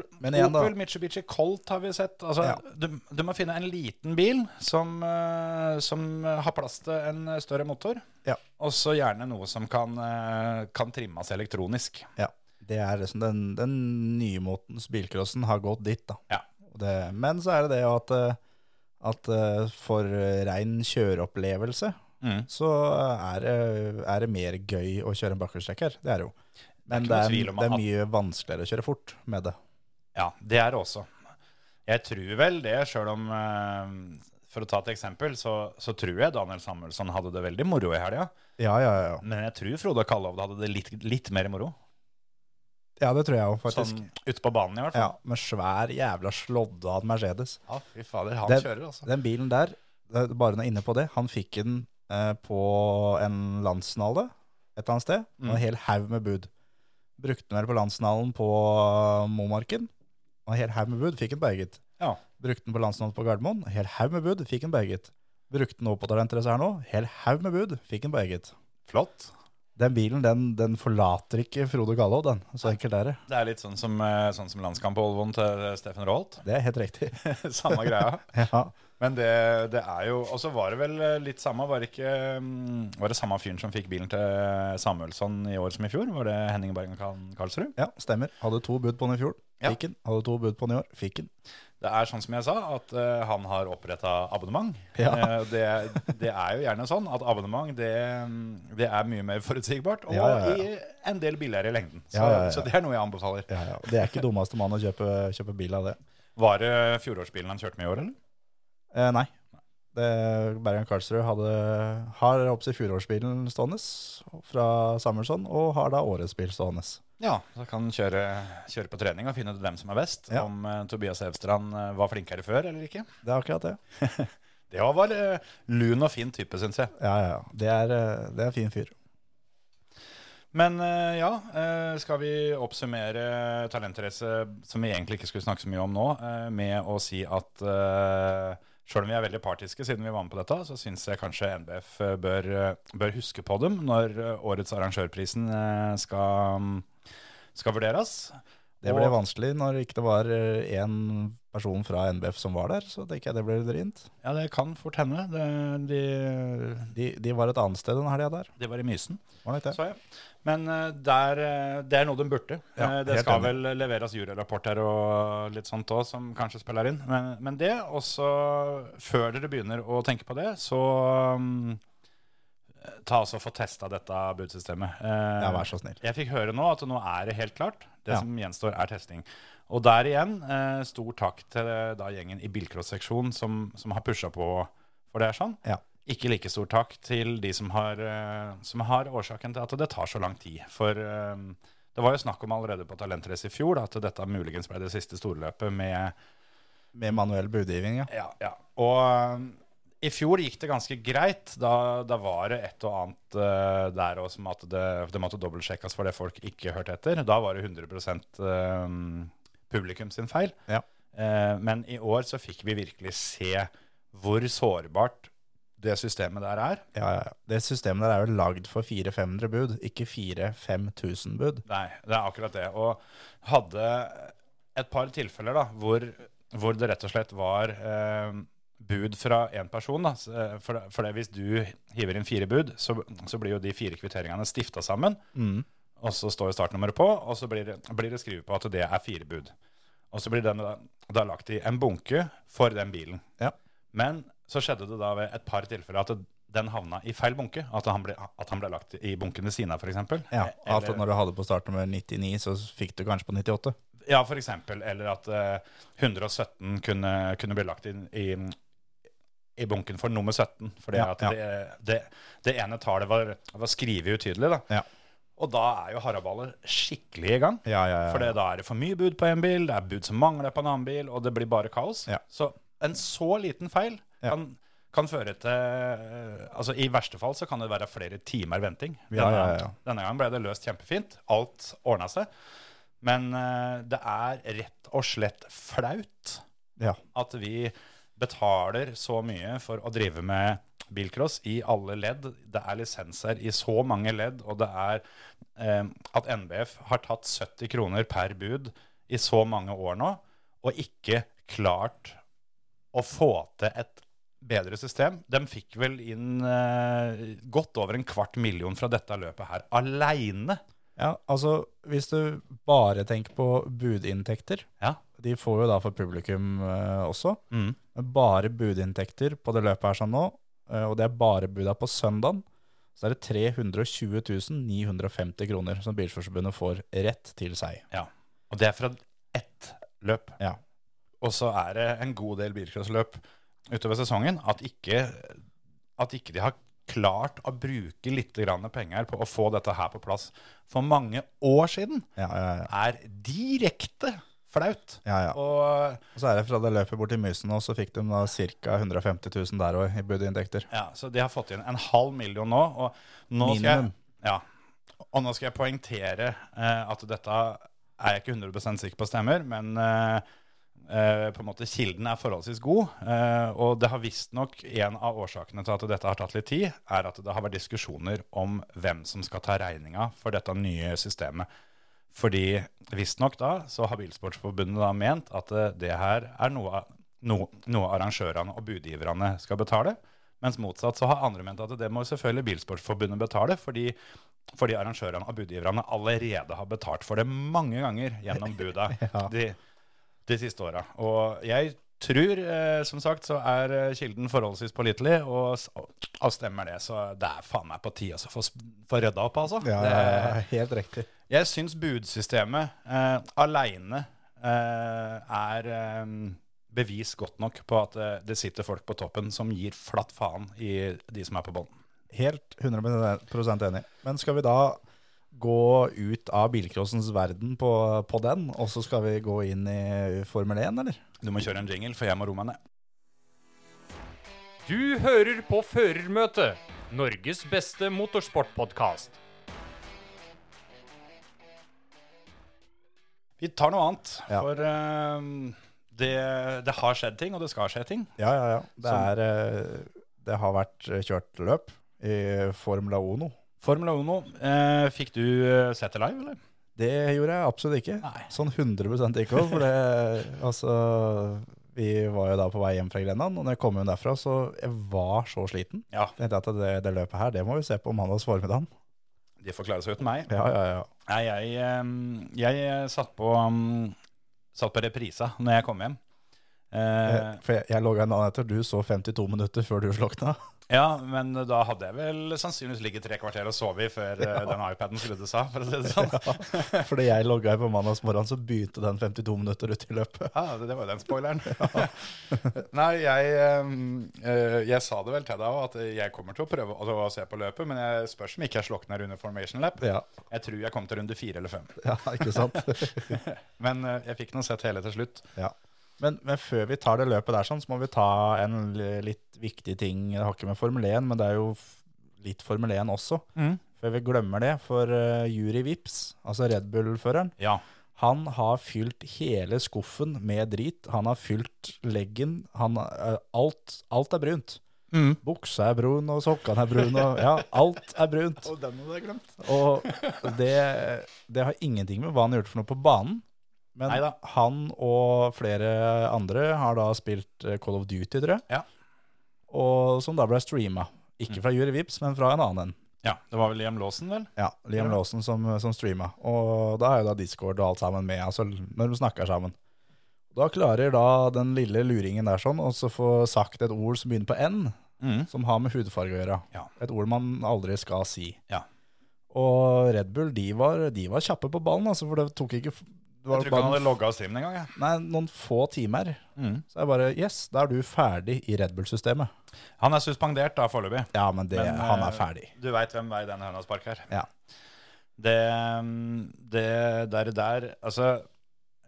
[SPEAKER 4] Opel,
[SPEAKER 5] men igjen da-
[SPEAKER 4] Opel Mitsubishi Colt har vi sett. Altså,
[SPEAKER 5] Ja.
[SPEAKER 4] du, du må finne en liten bil som, eh, som har plass til en større motor.
[SPEAKER 5] Ja.
[SPEAKER 4] Og så gjerne noe som kan, eh, kan trimmes elektronisk.
[SPEAKER 5] Ja. Det er liksom den, den nymotens bilcrossen har gått dit, da.
[SPEAKER 4] Ja.
[SPEAKER 5] Og Det, men så er det det jo at, eh, at eh, for eh, rein kjøreopplevelse
[SPEAKER 4] Mm.
[SPEAKER 5] så er det, er det mer gøy å kjøre en bakhjulstrekker. Det er det jo. Men
[SPEAKER 4] ikke
[SPEAKER 5] det
[SPEAKER 4] noe
[SPEAKER 5] er,
[SPEAKER 4] tvil om
[SPEAKER 5] det er
[SPEAKER 4] at-
[SPEAKER 5] mye vanskeligere å kjøre fort med det.
[SPEAKER 4] Ja, det er det også. Jeg tror vel det, sjøl om eh, For å ta et eksempel, så, så tror jeg Daniel Samuelsson hadde det veldig moro i helga.
[SPEAKER 5] Ja, ja, ja.
[SPEAKER 4] Men jeg tror Frode Kallovd hadde det litt, litt mer moro.
[SPEAKER 5] Ja, det tror jeg jo, faktisk.
[SPEAKER 4] Sånn ute på banen, i hvert fall.
[SPEAKER 5] Ja, Med svær jævla slådde av en Mercedes.
[SPEAKER 4] Ja, fy fader, han
[SPEAKER 5] Det-
[SPEAKER 4] kjører altså.
[SPEAKER 5] Den bilen der, det er bare når jeg er inne på det, han fikk den eh, på en landsfinale et eller annet sted,
[SPEAKER 4] Mm.
[SPEAKER 5] og en hel haug med bud. Brukte den vel på landsfinalen på eh, Momarken, og en hel haug med bud, fikk den på eget.
[SPEAKER 4] Ja.
[SPEAKER 5] Brukte den på landsnavnet på Gardermoen, hel haug med bud, fikk den på eget. Brukte den opp på Talentrace her nå, hel haug med bud, fikk den på eget.
[SPEAKER 4] Flott.
[SPEAKER 5] Den bilen, den, den forlater ikke Frode Gallo, den. Så enkelt er det.
[SPEAKER 4] Det er litt sånn som, eh, sånn som landskamp på Olvoen til eh, Steffen Roholt.
[SPEAKER 5] Det er helt riktig.
[SPEAKER 4] samme greia.
[SPEAKER 5] ja.
[SPEAKER 4] Men det, det er jo Og så var det vel eh, litt samme. Var det ikke mm, Var det samme fyren som fikk bilen til Samuelsson i år som i fjor? Var det Henning Bergen Karl- Karlsrud?
[SPEAKER 5] ja, stemmer. Hadde to bud på den i fjor,
[SPEAKER 4] Ja.
[SPEAKER 5] fikk den. Hadde to bud på den i år, fikk den.
[SPEAKER 4] Det er sånn som jeg sa, at eh, han har oppretta abonnement.
[SPEAKER 5] Ja.
[SPEAKER 4] Eh, det, det er jo gjerne sånn at abonnement det, mm, det er mye mer forutsigbart, og
[SPEAKER 5] Ja, ja, ja.
[SPEAKER 4] I en del billigere i lengden. Så,
[SPEAKER 5] Ja, ja, ja.
[SPEAKER 4] så det er noe jeg anbefaler.
[SPEAKER 5] Ja, ja. Det er ikke dummeste mann å kjøpe, kjøpe bil av det.
[SPEAKER 4] Var det fjorårsbilen han kjørte med i år, eller?
[SPEAKER 5] Eh, nei. Det, Bergen Karlsrud hadde, har opptil fjorårsbilen stående fra Samuelsson, og har da årets bil stående.
[SPEAKER 4] Ja, så kan han kjøre, kjøre på trening og finne ut hvem som er best.
[SPEAKER 5] Ja.
[SPEAKER 4] Om eh, Tobias Hevstrand eh, var flinkere før eller ikke.
[SPEAKER 5] Det er akkurat det.
[SPEAKER 4] Det var eh, lun og fin type, syns jeg.
[SPEAKER 5] Ja, ja, ja. Det er, eh, det er en fin fyr.
[SPEAKER 4] Men eh, ja, eh, skal vi oppsummere talentrace, som vi egentlig ikke skulle snakke så mye om nå, eh, med å si at eh, sjøl om vi er veldig partiske siden vi var med på dette, så syns jeg kanskje NBF bør, eh, bør huske på dem når eh, årets arrangørprisen eh, skal, skal vurderes.
[SPEAKER 5] Det ble
[SPEAKER 4] Og-
[SPEAKER 5] vanskelig når ikke det var én person fra NBF som var der. Så tenker jeg det ble vrient.
[SPEAKER 4] Ja, det kan fort hende. Det, de,
[SPEAKER 5] De, de var et annet sted enn helga der.
[SPEAKER 4] de var i Mysen,
[SPEAKER 5] Var det ikke det?
[SPEAKER 4] sa jeg. Men eh, der, eh, det er noe de burde.
[SPEAKER 5] Ja,
[SPEAKER 4] Eh, det
[SPEAKER 5] helt
[SPEAKER 4] skal
[SPEAKER 5] enig.
[SPEAKER 4] vel leveres juryrapporter og litt sånt òg, som kanskje spiller inn. Men, men det, også før dere begynner å tenke på det, så mm, ta altså og få testa dette budsystemet. Eh,
[SPEAKER 5] Ja, vær så snill.
[SPEAKER 4] jeg fikk høre nå at nå er det helt klart. Det
[SPEAKER 5] Ja.
[SPEAKER 4] som gjenstår, er testing. Og der igjen, eh, stor takk til eh, da gjengen i bilcross-seksjonen som, som har pusha på for det er sånn.
[SPEAKER 5] Ja.
[SPEAKER 4] Ikke like stor takk til de som har, eh, som har årsaken til at det tar så lang tid. For eh, det var jo snakk om allerede på Talentrace i fjor da, at dette muligens ble det siste storløpet med
[SPEAKER 5] Med manuell budgivning, ja.
[SPEAKER 4] ja, ja. Og um, i fjor gikk det ganske greit. Da, da var det et og annet eh, der også som at det, det måtte dobbeltsjekkes for det folk ikke hørte etter. Da var det 100 um, publikum sin feil.
[SPEAKER 5] Ja.
[SPEAKER 4] Eh, men i år så fikk vi virkelig se hvor sårbart det systemet der er.
[SPEAKER 5] Ja, ja. ja. Det systemet der er jo lagd for 400-500 bud, ikke 4000-5000 bud.
[SPEAKER 4] Nei, det er akkurat det. Og hadde et par tilfeller da, hvor, hvor det rett og slett var eh, bud fra én person. Da. S- eh, For, det- for det, hvis du hiver inn fire bud, så, så blir jo de fire kvitteringene stifta sammen. Og så står startnummeret på, og så blir det, blir det skrevet på at det er fire bud. Og så blir den da, da lagt i en bunke for den bilen.
[SPEAKER 5] Ja.
[SPEAKER 4] Men så skjedde det da ved et par tilfeller at den havna i feil bunke. At han ble, at han ble lagt i bunken ved siden av, f.eks.
[SPEAKER 5] Ja, At når du hadde på startnummer 99, så fikk du kanskje på 98.
[SPEAKER 4] Ja, for eksempel. Eller at eh, 117 kunne, kunne bli lagt inn i, i bunken for nummer 17. Fordi
[SPEAKER 5] Ja,
[SPEAKER 4] at
[SPEAKER 5] ja.
[SPEAKER 4] Det, det, det ene tallet var, var skrevet utydelig. Da.
[SPEAKER 5] Ja.
[SPEAKER 4] Og da er jo Haraballer skikkelig i gang.
[SPEAKER 5] Ja, ja, ja.
[SPEAKER 4] For det- da er det for mye bud på én bil, det er bud som mangler på en annen bil, og det blir bare kaos.
[SPEAKER 5] Ja.
[SPEAKER 4] Så en så liten feil
[SPEAKER 5] Ja.
[SPEAKER 4] kan, kan føre til eh, Altså I verste fall så kan det være flere timer venting. Denne,
[SPEAKER 5] Ja, ja, ja.
[SPEAKER 4] denne gangen ble det løst kjempefint. Alt ordna seg. Men eh, det er rett og slett flaut
[SPEAKER 5] ja.
[SPEAKER 4] at vi betaler så mye for å drive med bilcross i alle ledd. Det er lisenser i så mange ledd, og det er eh, at NBF har tatt 70 kroner per bud i så mange år nå, og ikke klart å få til et bedre system. De fikk vel inn eh, godt over en kvart million fra dette løpet her aleine.
[SPEAKER 5] ja, altså hvis du bare tenker på budinntekter,
[SPEAKER 4] Ja.
[SPEAKER 5] de får jo da for publikum eh, også,
[SPEAKER 4] Mm.
[SPEAKER 5] men bare budinntekter på det løpet her sånn nå, eh, og det er bare buda på søndagen, så er det 320 950 kroner som Bilsforsforbundet får rett til seg.
[SPEAKER 4] Ja. Og det er fra ett løp.
[SPEAKER 5] Ja.
[SPEAKER 4] Og så er det en god del bilcrossløp utover sesongen at ikke, at ikke de har klart å bruke litt grann penger på å få dette her på plass for mange år siden,
[SPEAKER 5] Ja, ja, ja.
[SPEAKER 4] er direkte flaut.
[SPEAKER 5] ja, ja.
[SPEAKER 4] Og
[SPEAKER 5] Og så er det fra det løpet bort til Mysen nå, så fikk de da ca. 150 000 der også i budinntekter.
[SPEAKER 4] Ja, så de har fått inn en halv million nå. Og nå skal jeg,
[SPEAKER 5] Minimum.
[SPEAKER 4] ja, og nå skal jeg poengtere eh, at dette er jeg ikke 100 sikker på stemmer, men eh, eh, på en måte kilden er forholdsvis god. Eh, og det har visstnok en av årsakene til at dette har tatt litt tid, er at det har vært diskusjoner om hvem som skal ta regninga for dette nye systemet. Fordi visstnok da, så har Bilsportsforbundet da ment at eh, det her er noe, noe, noe arrangørene og budgiverne skal betale. Mens motsatt så har andre ment at det må selvfølgelig Bilsportsforbundet betale, fordi, fordi arrangørene og budgiverne allerede har betalt for det mange ganger gjennom buda
[SPEAKER 5] Ja.
[SPEAKER 4] de, de siste åra. Og jeg tror, eh, som sagt, så er eh, kilden forholdsvis pålitelig, og, s- og stemmer det, så det er faen meg på tide å få s- få rydda opp, altså.
[SPEAKER 5] Ja, ja,
[SPEAKER 4] Det-
[SPEAKER 5] ja, helt riktig.
[SPEAKER 4] jeg syns budsystemet eh, aleine eh, er eh, bevis godt nok på at eh, det sitter folk på toppen som gir flatt faen i de som er på bånn.
[SPEAKER 5] Helt 100 enig. Men skal vi da gå ut av bilcrossens verden på, på den, og så skal vi gå inn i Formel 1, eller?
[SPEAKER 4] Du må kjøre en jingle, for jeg må roe meg ned.
[SPEAKER 1] Du hører på Førermøtet, Norges beste motorsportpodkast.
[SPEAKER 4] Vi tar noe annet,
[SPEAKER 5] Ja.
[SPEAKER 4] for eh, det, det har skjedd ting, og det skal skje ting.
[SPEAKER 5] Ja, ja, ja. Det, er, eh, det har vært kjørt løp i Formula Ono.
[SPEAKER 4] Formel Uno, eh, fikk du eh, sett det live, eller?
[SPEAKER 5] Det gjorde jeg absolutt ikke.
[SPEAKER 4] Nei.
[SPEAKER 5] Sånn 100 ikke. For det, altså, vi var jo da på vei hjem fra Grenland, og når jeg kom hjem derfra, så jeg var så sliten.
[SPEAKER 4] Ja.
[SPEAKER 5] Jeg tenkte at det, det løpet her, det må vi se på mandags formiddag.
[SPEAKER 4] De får klare seg uten meg.
[SPEAKER 5] Ja, ja, ja.
[SPEAKER 4] Nei, jeg, ehm, jeg eh, satt på, um, satt på reprisa når jeg kom hjem. Eh,
[SPEAKER 5] Eh, For jeg, jeg logga en annen etter, du så 52 minutter før du slokna.
[SPEAKER 4] ja, men da hadde jeg vel sannsynligvis ligget tre kvarter og sovet før eh, den iPaden skrudde seg. For å si det sånn.
[SPEAKER 5] Fordi jeg logga på mandags morgen, så begynte den 52 minutter ut i løpet.
[SPEAKER 4] Ja, det, det var jo den spoileren. Nei, jeg, ehm, eh, jeg sa det vel til deg òg, at jeg kommer til å prøve å, å se på løpet, men jeg spørs om ikke jeg slokner under formation lap.
[SPEAKER 5] Ja,
[SPEAKER 4] Jeg tror jeg kom til runde fire eller fem.
[SPEAKER 5] ja ikke sant?
[SPEAKER 4] Men eh, jeg fikk nå sett hele til slutt.
[SPEAKER 5] Ja. Men, men før vi tar det løpet der, sånn, så må vi ta en l- litt viktig ting. Det har ikke med Formel 1, men det er jo f- litt Formel 1 også.
[SPEAKER 4] Mm.
[SPEAKER 5] Før vi glemmer det, for eh, Juri Vips, altså Red Bull-føreren,
[SPEAKER 4] Ja.
[SPEAKER 5] han har fylt hele skuffen med drit. Han har fylt leggen. Han, eh, alt, alt er brunt.
[SPEAKER 4] Mm.
[SPEAKER 5] Buksa er brun, og sokkene er brune. og- Ja, alt er brunt.
[SPEAKER 4] Og den hadde jeg glemt.
[SPEAKER 5] Og det, det har ingenting med hva han har gjort for noe på banen. Men
[SPEAKER 4] Neida.
[SPEAKER 5] han og flere andre har da spilt eh, Call of Duty, tror jeg.
[SPEAKER 4] Ja. Mm.
[SPEAKER 5] Og som da ble streama. Ikke fra Juri Vips, men fra en annen en.
[SPEAKER 4] Ja, det var vel Liam Lawson, vel?
[SPEAKER 5] Ja, Liam Lawson som, som streama. Og da er jo da Discord og alt sammen med, altså når de snakker sammen. Da klarer da den lille luringen der sånn også få sagt et ord som begynner på N,
[SPEAKER 4] Mhm.
[SPEAKER 5] som har med hudfarge å gjøre.
[SPEAKER 4] Ja.
[SPEAKER 5] Et ord man aldri skal si.
[SPEAKER 4] Ja.
[SPEAKER 5] Og Red Bull, de var, de var kjappe på ballen, altså, for det tok ikke det
[SPEAKER 4] Jeg
[SPEAKER 5] var
[SPEAKER 4] tror ikke han
[SPEAKER 5] bare
[SPEAKER 4] hadde Mm. logga av streamen engang. jeg.
[SPEAKER 5] nei, noen få timer. Så jeg bare Yes, da er du ferdig i Red Bull-systemet.
[SPEAKER 4] Han er suspendert da foreløpig.
[SPEAKER 5] Ja, men, det,
[SPEAKER 4] Men,
[SPEAKER 5] han
[SPEAKER 4] eh,
[SPEAKER 5] er ferdig.
[SPEAKER 4] Du veit hvem vei den høna sparker.
[SPEAKER 5] Ja.
[SPEAKER 4] Det, mm, det der, der Altså,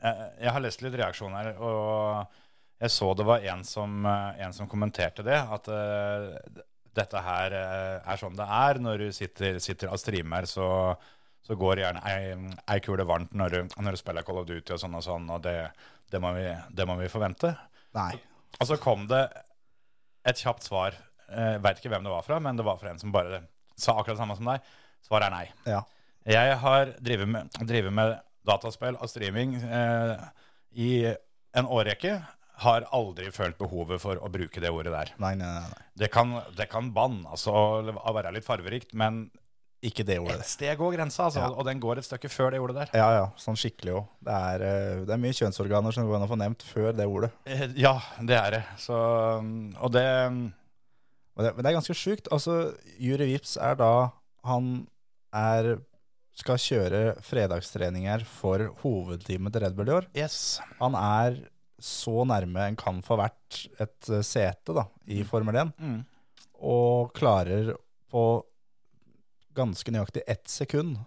[SPEAKER 4] jeg, jeg har lest litt reaksjoner, og jeg så det var en som, eh, en som kommenterte det. At eh, d- dette her eh, er sånn det er. Når du sitter, sitter og streamer, så, så går gjerne ei, ei kule varmt når du, når du spiller Call of Duty og sånn og sånn, og det, det, må, vi, det må vi forvente.
[SPEAKER 5] Nei.
[SPEAKER 4] Og så kom det et kjapt svar. Eh, Jeg Veit ikke hvem det var fra, men det var fra en som bare sa akkurat det samme som deg. Svaret er nei.
[SPEAKER 5] Ja.
[SPEAKER 4] Jeg har drevet med, drevet med dataspill og streaming eh, i en årrekke. Har aldri følt behovet for å bruke det ordet der.
[SPEAKER 5] Nei, nei, nei, nei.
[SPEAKER 4] Det kan, det kan banne, altså, og være litt farverikt, men
[SPEAKER 5] Ikke det ordet.
[SPEAKER 4] et sted går grensa, altså,
[SPEAKER 5] Ja.
[SPEAKER 4] og den går et stykke før det ordet der.
[SPEAKER 5] Ja, ja. Sånn skikkelig òg. Det, er, eh, det er mye kjønnsorganer som går an å få nevnt før det ordet.
[SPEAKER 4] Eh, Ja, det er det. Så, Um, mm, og det
[SPEAKER 5] Men det, men det er ganske sjukt. Altså, Juri Vips er da Han er skal kjøre fredagstreninger for hovedteamet til Red Bull i år.
[SPEAKER 4] Yes.
[SPEAKER 5] Han er så nærme en kan få vært et eh, sete da, i Formel 1,
[SPEAKER 4] Mm.
[SPEAKER 5] og klarer på ganske nøyaktig ett sekund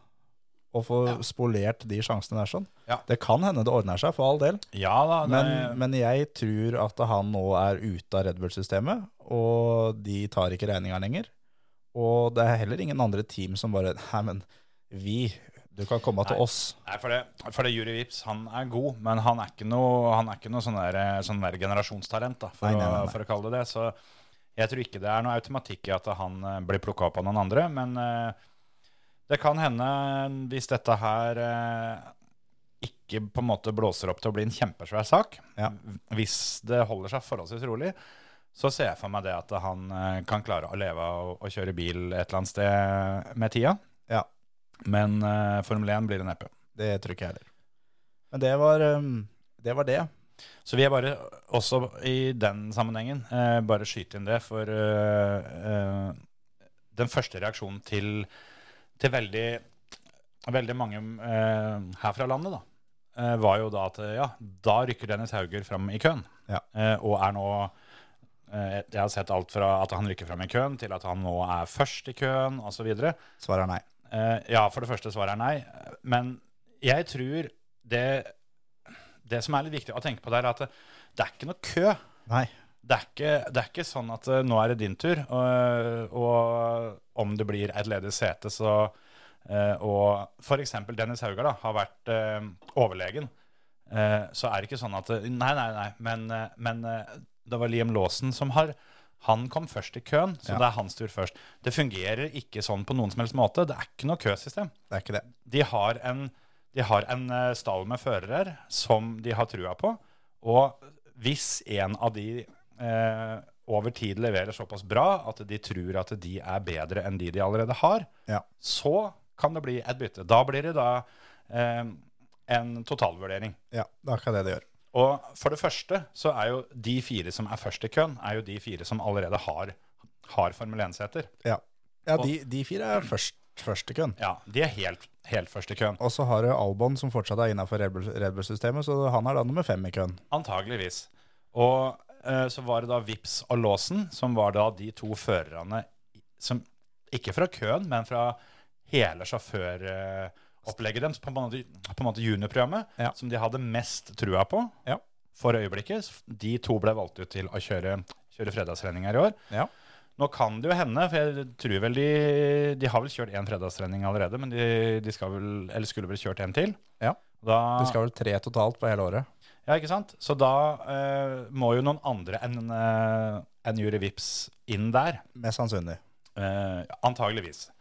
[SPEAKER 5] å få spolert de sjansene der sånn.
[SPEAKER 4] Ja.
[SPEAKER 5] Det kan hende det ordner seg, for all del.
[SPEAKER 4] Ja da. Det,
[SPEAKER 5] Men, men jeg tror at han nå er ute av Red Bull-systemet, og de tar ikke regninga lenger. Og det er heller ingen andre team som bare Nei, men vi, du kan komme til
[SPEAKER 4] Nei.
[SPEAKER 5] oss.
[SPEAKER 4] Nei, for det, for det Juri Vips, han er god, men han er ikke noe, han er ikke noe sånn, der, sånn der generasjonstalent, da, for,
[SPEAKER 5] Nei, nei, nei,
[SPEAKER 4] Å,
[SPEAKER 5] nei.
[SPEAKER 4] for å kalle det det. Så jeg tror ikke det er noe automatikk i at han eh, blir plukka opp av noen andre, men eh, det kan hende, eh, hvis dette her eh, ikke på en måte blåser opp til å bli en kjempesvær sak,
[SPEAKER 5] Ja.
[SPEAKER 4] hvis det holder seg forholdsvis rolig, så ser jeg for meg det at han eh, kan klare å leve og, og kjøre bil et eller annet sted med tida.
[SPEAKER 5] Ja.
[SPEAKER 4] Men eh, Formel 1 blir det neppe.
[SPEAKER 5] Det tror ikke jeg heller. Men det var um, det. Var det.
[SPEAKER 4] Så vi er bare, også i den sammenhengen, eh, bare skyte inn det, for eh, eh, den første reaksjonen til, til veldig, veldig mange eh, her fra landet, da, eh, var jo da at eh, ja, da rykker Dennis Hauger fram i køen,
[SPEAKER 5] Ja.
[SPEAKER 4] eh, og er nå eh, jeg har sett alt fra at han rykker fram i køen, til at han nå er først i køen, osv.
[SPEAKER 5] Svaret er nei.
[SPEAKER 4] Eh, ja, for det første svaret er nei. Men jeg tror det, det som er litt viktig å tenke på der, er at det, det er ikke noe kø.
[SPEAKER 5] Nei.
[SPEAKER 4] Det er ikke, det er ikke sånn at eh, nå er det din tur, og, og om det blir et ledig sete, så eh, Og f.eks. Dennis Haugar da, har vært eh, overlegen. eh, så er det ikke sånn at eh, Nei, nei, nei, men, eh, men eh, det var Liam Lawson som har Han kom først i køen, så
[SPEAKER 5] Ja.
[SPEAKER 4] det er hans tur først. Det fungerer ikke sånn på noen som helst måte. Det er ikke noe køsystem
[SPEAKER 5] Det er ikke det.
[SPEAKER 4] de har en De har en eh, stall med førere som de har trua på. Og hvis en av de eh, over tid leverer såpass bra at de tror at de er bedre enn de de allerede har,
[SPEAKER 5] Ja.
[SPEAKER 4] så kan det bli et bytte. Da blir det da eh, en totalvurdering.
[SPEAKER 5] Ja, det er akkurat det det gjør.
[SPEAKER 4] Og for det første så er jo de fire som er først i køen, er jo de fire som allerede har, har Formel 1-seter.
[SPEAKER 5] Ja, ja de, de fire er først, først i køen.
[SPEAKER 4] Ja, de er helt, helt først i køen.
[SPEAKER 5] Og så har du Albon, som fortsatt er innafor Red Bull- Red Bull-systemet, så han er da nummer fem i køen.
[SPEAKER 4] Antageligvis. Og eh, så var det da Vips og Låsen, som var da de to førerne i- som ikke fra køen, men fra hele sjåføropplegget deres, på en måte, på en måte juniorprogrammet,
[SPEAKER 5] Ja.
[SPEAKER 4] som de hadde mest trua på
[SPEAKER 5] Ja.
[SPEAKER 4] for øyeblikket. De to ble valgt ut til å kjøre, kjøre fredagstreninger i år.
[SPEAKER 5] Ja.
[SPEAKER 4] Nå kan det jo hende, for jeg tror vel de De har vel kjørt én fredagstrening allerede, men de, de skal vel, eller skulle vel kjørt en til.
[SPEAKER 5] Ja.
[SPEAKER 4] Da,
[SPEAKER 5] Det skal vel tre totalt på hele året.
[SPEAKER 4] ja, ikke sant? Så da eh, må jo noen andre enn eh, enn Jury Vips inn der.
[SPEAKER 5] Mest sannsynlig.
[SPEAKER 4] Eh, antageligvis.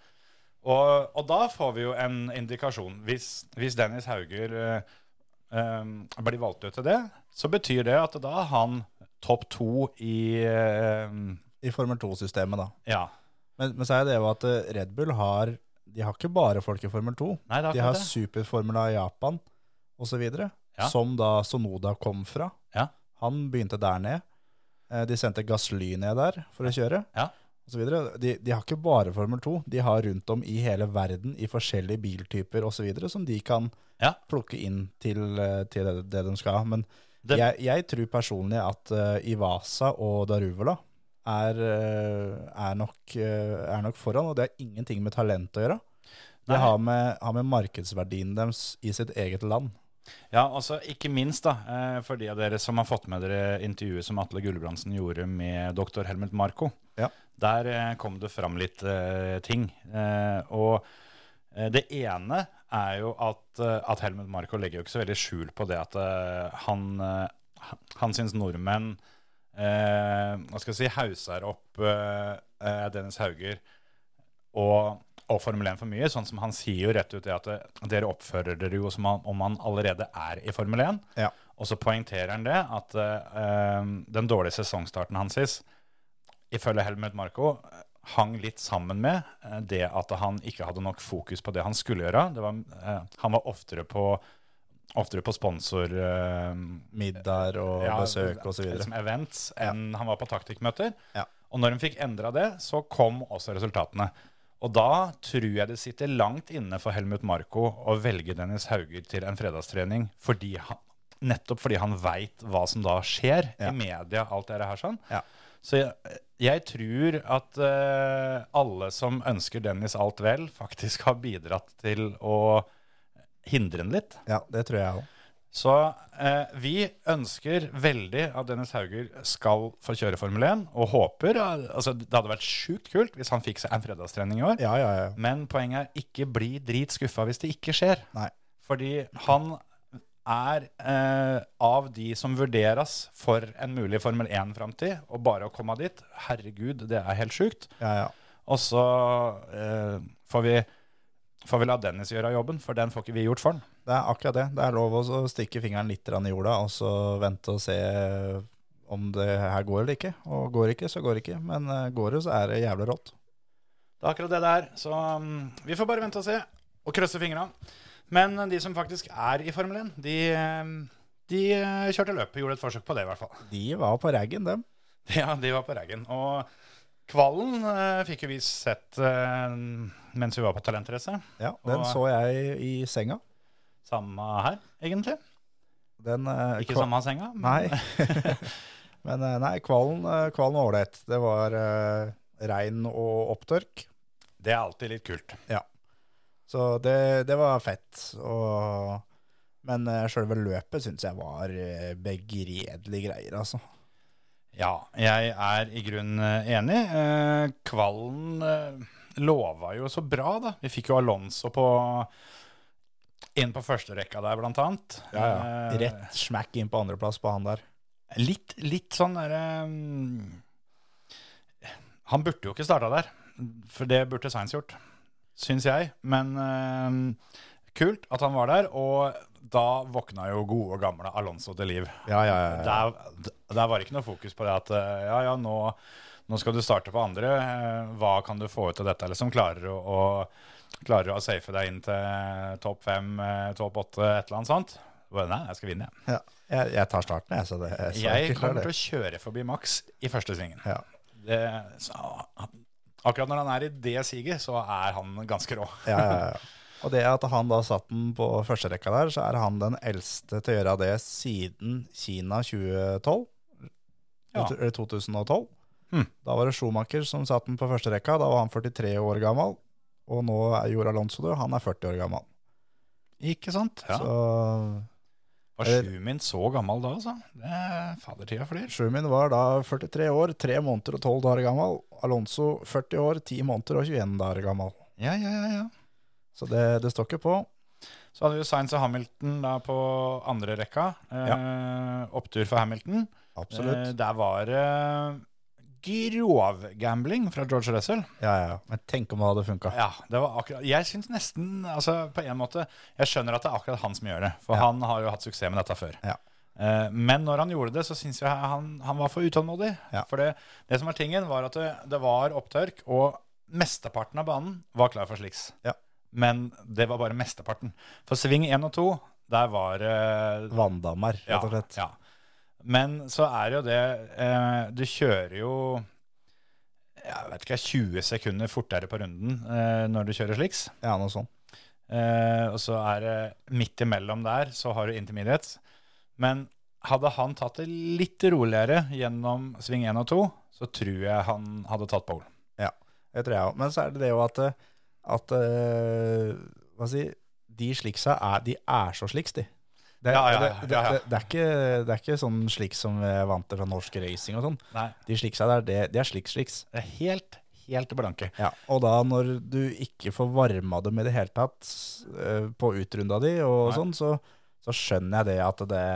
[SPEAKER 4] Og, og da får vi jo en indikasjon. Hvis, hvis Dennis Hauger eh, eh, blir valgt ut til det, så betyr det at da er han topp to i eh,
[SPEAKER 5] I Formel 2-systemet, da.
[SPEAKER 4] Ja.
[SPEAKER 5] Men, men så er det jo at eh, Red Bull har De har ikke bare folk i Formel 2.
[SPEAKER 4] Nei, det er
[SPEAKER 5] De har
[SPEAKER 4] akkurat det.
[SPEAKER 5] superformula i Japan osv.,
[SPEAKER 4] Ja.
[SPEAKER 5] som da Sonoda kom fra.
[SPEAKER 4] Ja.
[SPEAKER 5] Han begynte der ned. Eh, De sendte Gassly ned der for å kjøre.
[SPEAKER 4] Ja.
[SPEAKER 5] Og så videre. de, de har ikke bare Formel 2, de har rundt om i hele verden i forskjellige biltyper osv. som de kan
[SPEAKER 4] Ja.
[SPEAKER 5] plukke inn til, eh, til det, det de skal ha. Men
[SPEAKER 4] Det-
[SPEAKER 5] jeg, jeg tror personlig at eh, Ivasa og Daruvola er, eh, er, nok, eh, er nok foran, og det har ingenting med talent å gjøre.
[SPEAKER 4] Nei.
[SPEAKER 5] Det har med, har med markedsverdien deres i sitt eget land.
[SPEAKER 4] Ja, altså ikke minst da, eh, for de av dere som har fått med dere intervjuet som Atle Gulbrandsen gjorde med doktor Helmut Marko.
[SPEAKER 5] Ja.
[SPEAKER 4] Der eh, kom det fram litt eh, ting. Eh, og eh, det ene er jo at, eh, at Helmut Marko legger jo ikke så veldig skjul på det at eh, han, eh, han- han syns nordmenn eh, hva skal jeg si, hauser opp eh, eh, Dennis Hauger og, og Formel 1 for mye. Sånn som han sier jo rett ut det at eh, dere oppfører dere jo som om- om han allerede er i Formel 1.
[SPEAKER 5] Ja.
[SPEAKER 4] Og så poengterer han det at eh, eh, den dårlige sesongstarten hans, ifølge Helmut Marko, eh, hang litt sammen med eh, det at han ikke hadde nok fokus på det han skulle gjøre. Det var, eh, han var oftere på, oftere på sponsor... eh,
[SPEAKER 5] Middager og
[SPEAKER 4] ja,
[SPEAKER 5] besøk og så videre.
[SPEAKER 4] Liksom events enn han var på taktikkmøter.
[SPEAKER 5] Ja.
[SPEAKER 4] Og når de fikk endra det, så kom også resultatene. Og da tror jeg det sitter langt inne for Helmut Marko å velge Dennis Hauger til en fredagstrening fordi han, nettopp fordi han veit hva som da skjer i
[SPEAKER 5] Ja.
[SPEAKER 4] media, alt det her sånn.
[SPEAKER 5] Ja.
[SPEAKER 4] Så jeg, jeg tror at eh, alle som ønsker Dennis alt vel, faktisk har bidratt til å hindre han litt.
[SPEAKER 5] Ja, det tror jeg òg.
[SPEAKER 4] Så eh, vi ønsker veldig at Dennis Hauger skal få kjøre Formel 1, og håper eh, Altså, det hadde vært sjukt kult hvis han fikk seg en fredagstrening i år.
[SPEAKER 5] Ja, ja, ja.
[SPEAKER 4] Men poenget er ikke bli dritskuffa hvis det ikke skjer.
[SPEAKER 5] Nei.
[SPEAKER 4] Fordi han er eh, av de som vurderes for en mulig Formel 1-framtid, og bare å komme dit Herregud, det er helt sjukt.
[SPEAKER 5] ja, ja.
[SPEAKER 4] Og så eh, får, vi, får vi la Dennis gjøre jobben, for den får ikke vi gjort for han.
[SPEAKER 5] Det er akkurat det. Det er lov å så stikke fingeren litt grann i jorda og så vente og se eh, om det her går eller ikke. Og går ikke, så går det ikke. Men eh, går det, så er det jævlig rått.
[SPEAKER 4] Det er akkurat det det er. Så um, vi får bare vente og se, og krøsse fingra. Men de som faktisk er i Formel 1, de, um, de uh, kjørte løpet. Gjorde et forsøk på det, i hvert fall.
[SPEAKER 5] De var på raggen, dem.
[SPEAKER 4] Ja, de var på raggen. Og kvalen uh, fikk jo vi sett uh, mens vi var på talentrace.
[SPEAKER 5] Ja, Den
[SPEAKER 4] Og- eh,
[SPEAKER 5] så jeg i senga.
[SPEAKER 4] Samme her, egentlig.
[SPEAKER 5] Den, eh,
[SPEAKER 4] Ikke
[SPEAKER 5] kva-
[SPEAKER 4] samme senga. men-
[SPEAKER 5] Nei. Men eh, nei, kvalen, eh, kvalen var ålreit. Det var eh, regn og opptørk.
[SPEAKER 4] Det er alltid litt kult.
[SPEAKER 5] Så det, det var fett. Og, men eh, selve løpet syns jeg var eh, begredelige greier, altså.
[SPEAKER 4] Ja, jeg er i grunnen eh, enig. Eh, Kvallen eh, lova jo så bra, da. Vi fikk jo Alonso på inn på første rekka der, blant annet. Eh,
[SPEAKER 5] Rett smack inn på andreplass på han der.
[SPEAKER 4] Litt, litt sånn derre mm, Han burde jo ikke starta der, for det burde Sainz gjort, syns jeg. Men eh, kult at han var der, og da våkna jo gode gamle Alonso til liv.
[SPEAKER 5] Ja, ja, ja, ja.
[SPEAKER 4] Der, der var det ikke noe fokus på det at eh, ja, ja, nå, nå skal du starte på andre. eh, Hva kan du få ut av dette? Eller som klarer å, å, klarer å safe deg inn til topp fem, eh, topp åtte, et eller annet sånt. Bare, Nei, jeg skal vinne, jeg.
[SPEAKER 5] ja. Jeg, jeg tar starten, jeg. Så det, jeg, så
[SPEAKER 4] Jeg
[SPEAKER 5] ikke klarer
[SPEAKER 4] kommer til
[SPEAKER 5] det.
[SPEAKER 4] å kjøre forbi Max i første svingen.
[SPEAKER 5] Ja.
[SPEAKER 4] Det- så han- Akkurat når han er i det siget, så er han ganske rå.
[SPEAKER 5] Ja, ja, ja. Og det at han da satt den på førsterekka der, så er han den eldste til å gjøre det siden Kina 2012.
[SPEAKER 4] Ja.
[SPEAKER 5] Eller 2012.
[SPEAKER 4] Hmm.
[SPEAKER 5] Da var det Schumacher som satt den på førsterekka. Da var han 43 år gammel. Og nå er Jor Alonso død. Han er 40 år gammel.
[SPEAKER 4] Ikke sant? Så eh,
[SPEAKER 5] Så
[SPEAKER 4] var Schumin så gammel da, altså? Det er- Fadertida flyr.
[SPEAKER 5] Schumin var da 43 år, 3 måneder og 12 dager gammel. Alonso 40 år, 10 måneder og 21 dager gammel.
[SPEAKER 4] Ja, ja, ja, ja.
[SPEAKER 5] Så det, det står ikke på.
[SPEAKER 4] Så hadde vi jo Sainz og Hamilton da på andre rekka. Eh, Opptur for Hamilton. Eh,
[SPEAKER 5] Absolutt.
[SPEAKER 4] der var det eh, grovgambling fra George Russell.
[SPEAKER 5] Ja, ja. ja. Men tenk om det hadde funka.
[SPEAKER 4] Ja, det var akkurat Jeg syns nesten, altså på en måte Jeg skjønner at det er akkurat han som gjør det, for
[SPEAKER 5] Ja.
[SPEAKER 4] han har jo hatt suksess med dette før.
[SPEAKER 5] Ja.
[SPEAKER 4] Eh, Men når han gjorde det, så syns jeg han, han var for utålmodig.
[SPEAKER 5] Ja.
[SPEAKER 4] For det, det som var tingen, var at det, det var opptørk, og mesteparten av banen var klar for sliks.
[SPEAKER 5] Ja.
[SPEAKER 4] Men det var bare mesteparten. For sving 1 og 2, der var det
[SPEAKER 5] Vanndammer, rett og slett.
[SPEAKER 4] ja. Men så er jo det eh, Du kjører jo jeg vet ikke, 20 sekunder fortere på runden eh, når du kjører sliks.
[SPEAKER 5] Ja, noe sånt.
[SPEAKER 4] Eh, og så er det midt imellom der, så har du intermediates. Men hadde han tatt det litt roligere gjennom sving 1 og 2, så tror jeg han hadde tatt pole.
[SPEAKER 5] Ja, det tror jeg også. Men så er det det jo at, eh, at eh, hva si, de sliksa er, de er så sliks, de. Det, er-
[SPEAKER 4] Ja, ja, ja,
[SPEAKER 5] det,
[SPEAKER 4] ja, ja.
[SPEAKER 5] Det, det, er ikke, det er ikke sånn sliks som vi er vant til fra norsk racing og sånn.
[SPEAKER 4] Nei,
[SPEAKER 5] De sliksa der, det, det er sliks-sliks.
[SPEAKER 4] det er helt, helt blanke.
[SPEAKER 5] Ja, og da når du ikke får varma dem i det hele tatt eh, på utrunda di og
[SPEAKER 4] Nei.
[SPEAKER 5] sånn, så, så skjønner jeg det at det,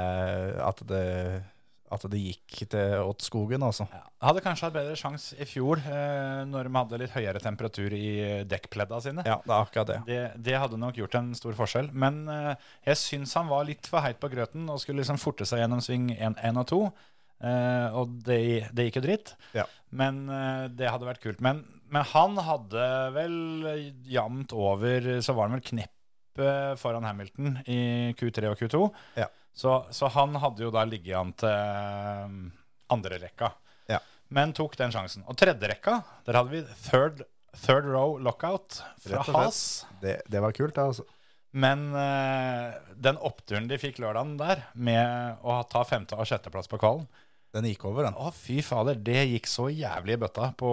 [SPEAKER 5] at det, at det gikk til, åt skogen, altså.
[SPEAKER 4] Ja. Hadde kanskje hatt bedre sjanse i fjor, eh, når de hadde litt høyere temperatur i dekkpledda sine.
[SPEAKER 5] Ja, det er akkurat det.
[SPEAKER 4] Det, det hadde nok gjort en stor forskjell. Men eh, jeg syns han var litt for heit på grøten og skulle liksom forte seg gjennom sving 1, og 2. eh, og det, det gikk jo dritt.
[SPEAKER 5] Ja.
[SPEAKER 4] Men eh, det hadde vært kult. Men, men han hadde vel jevnt over Så var han vel kneppet foran Hamilton i Q3 og Q2.
[SPEAKER 5] Ja.
[SPEAKER 4] Så, så han hadde jo da ligget an til eh, andre rekka.
[SPEAKER 5] Ja.
[SPEAKER 4] Men tok den sjansen. Og tredje rekka, der hadde vi third, third row lockout fra
[SPEAKER 5] Rett og slett.
[SPEAKER 4] Has.
[SPEAKER 5] Det, det var kult, det, altså.
[SPEAKER 4] Men eh, den oppturen de fikk lørdagen der, med å ta femte- og sjetteplass på kvalen
[SPEAKER 5] Den gikk over, den.
[SPEAKER 4] Å, fy fader, det gikk så jævlig i bøtta på,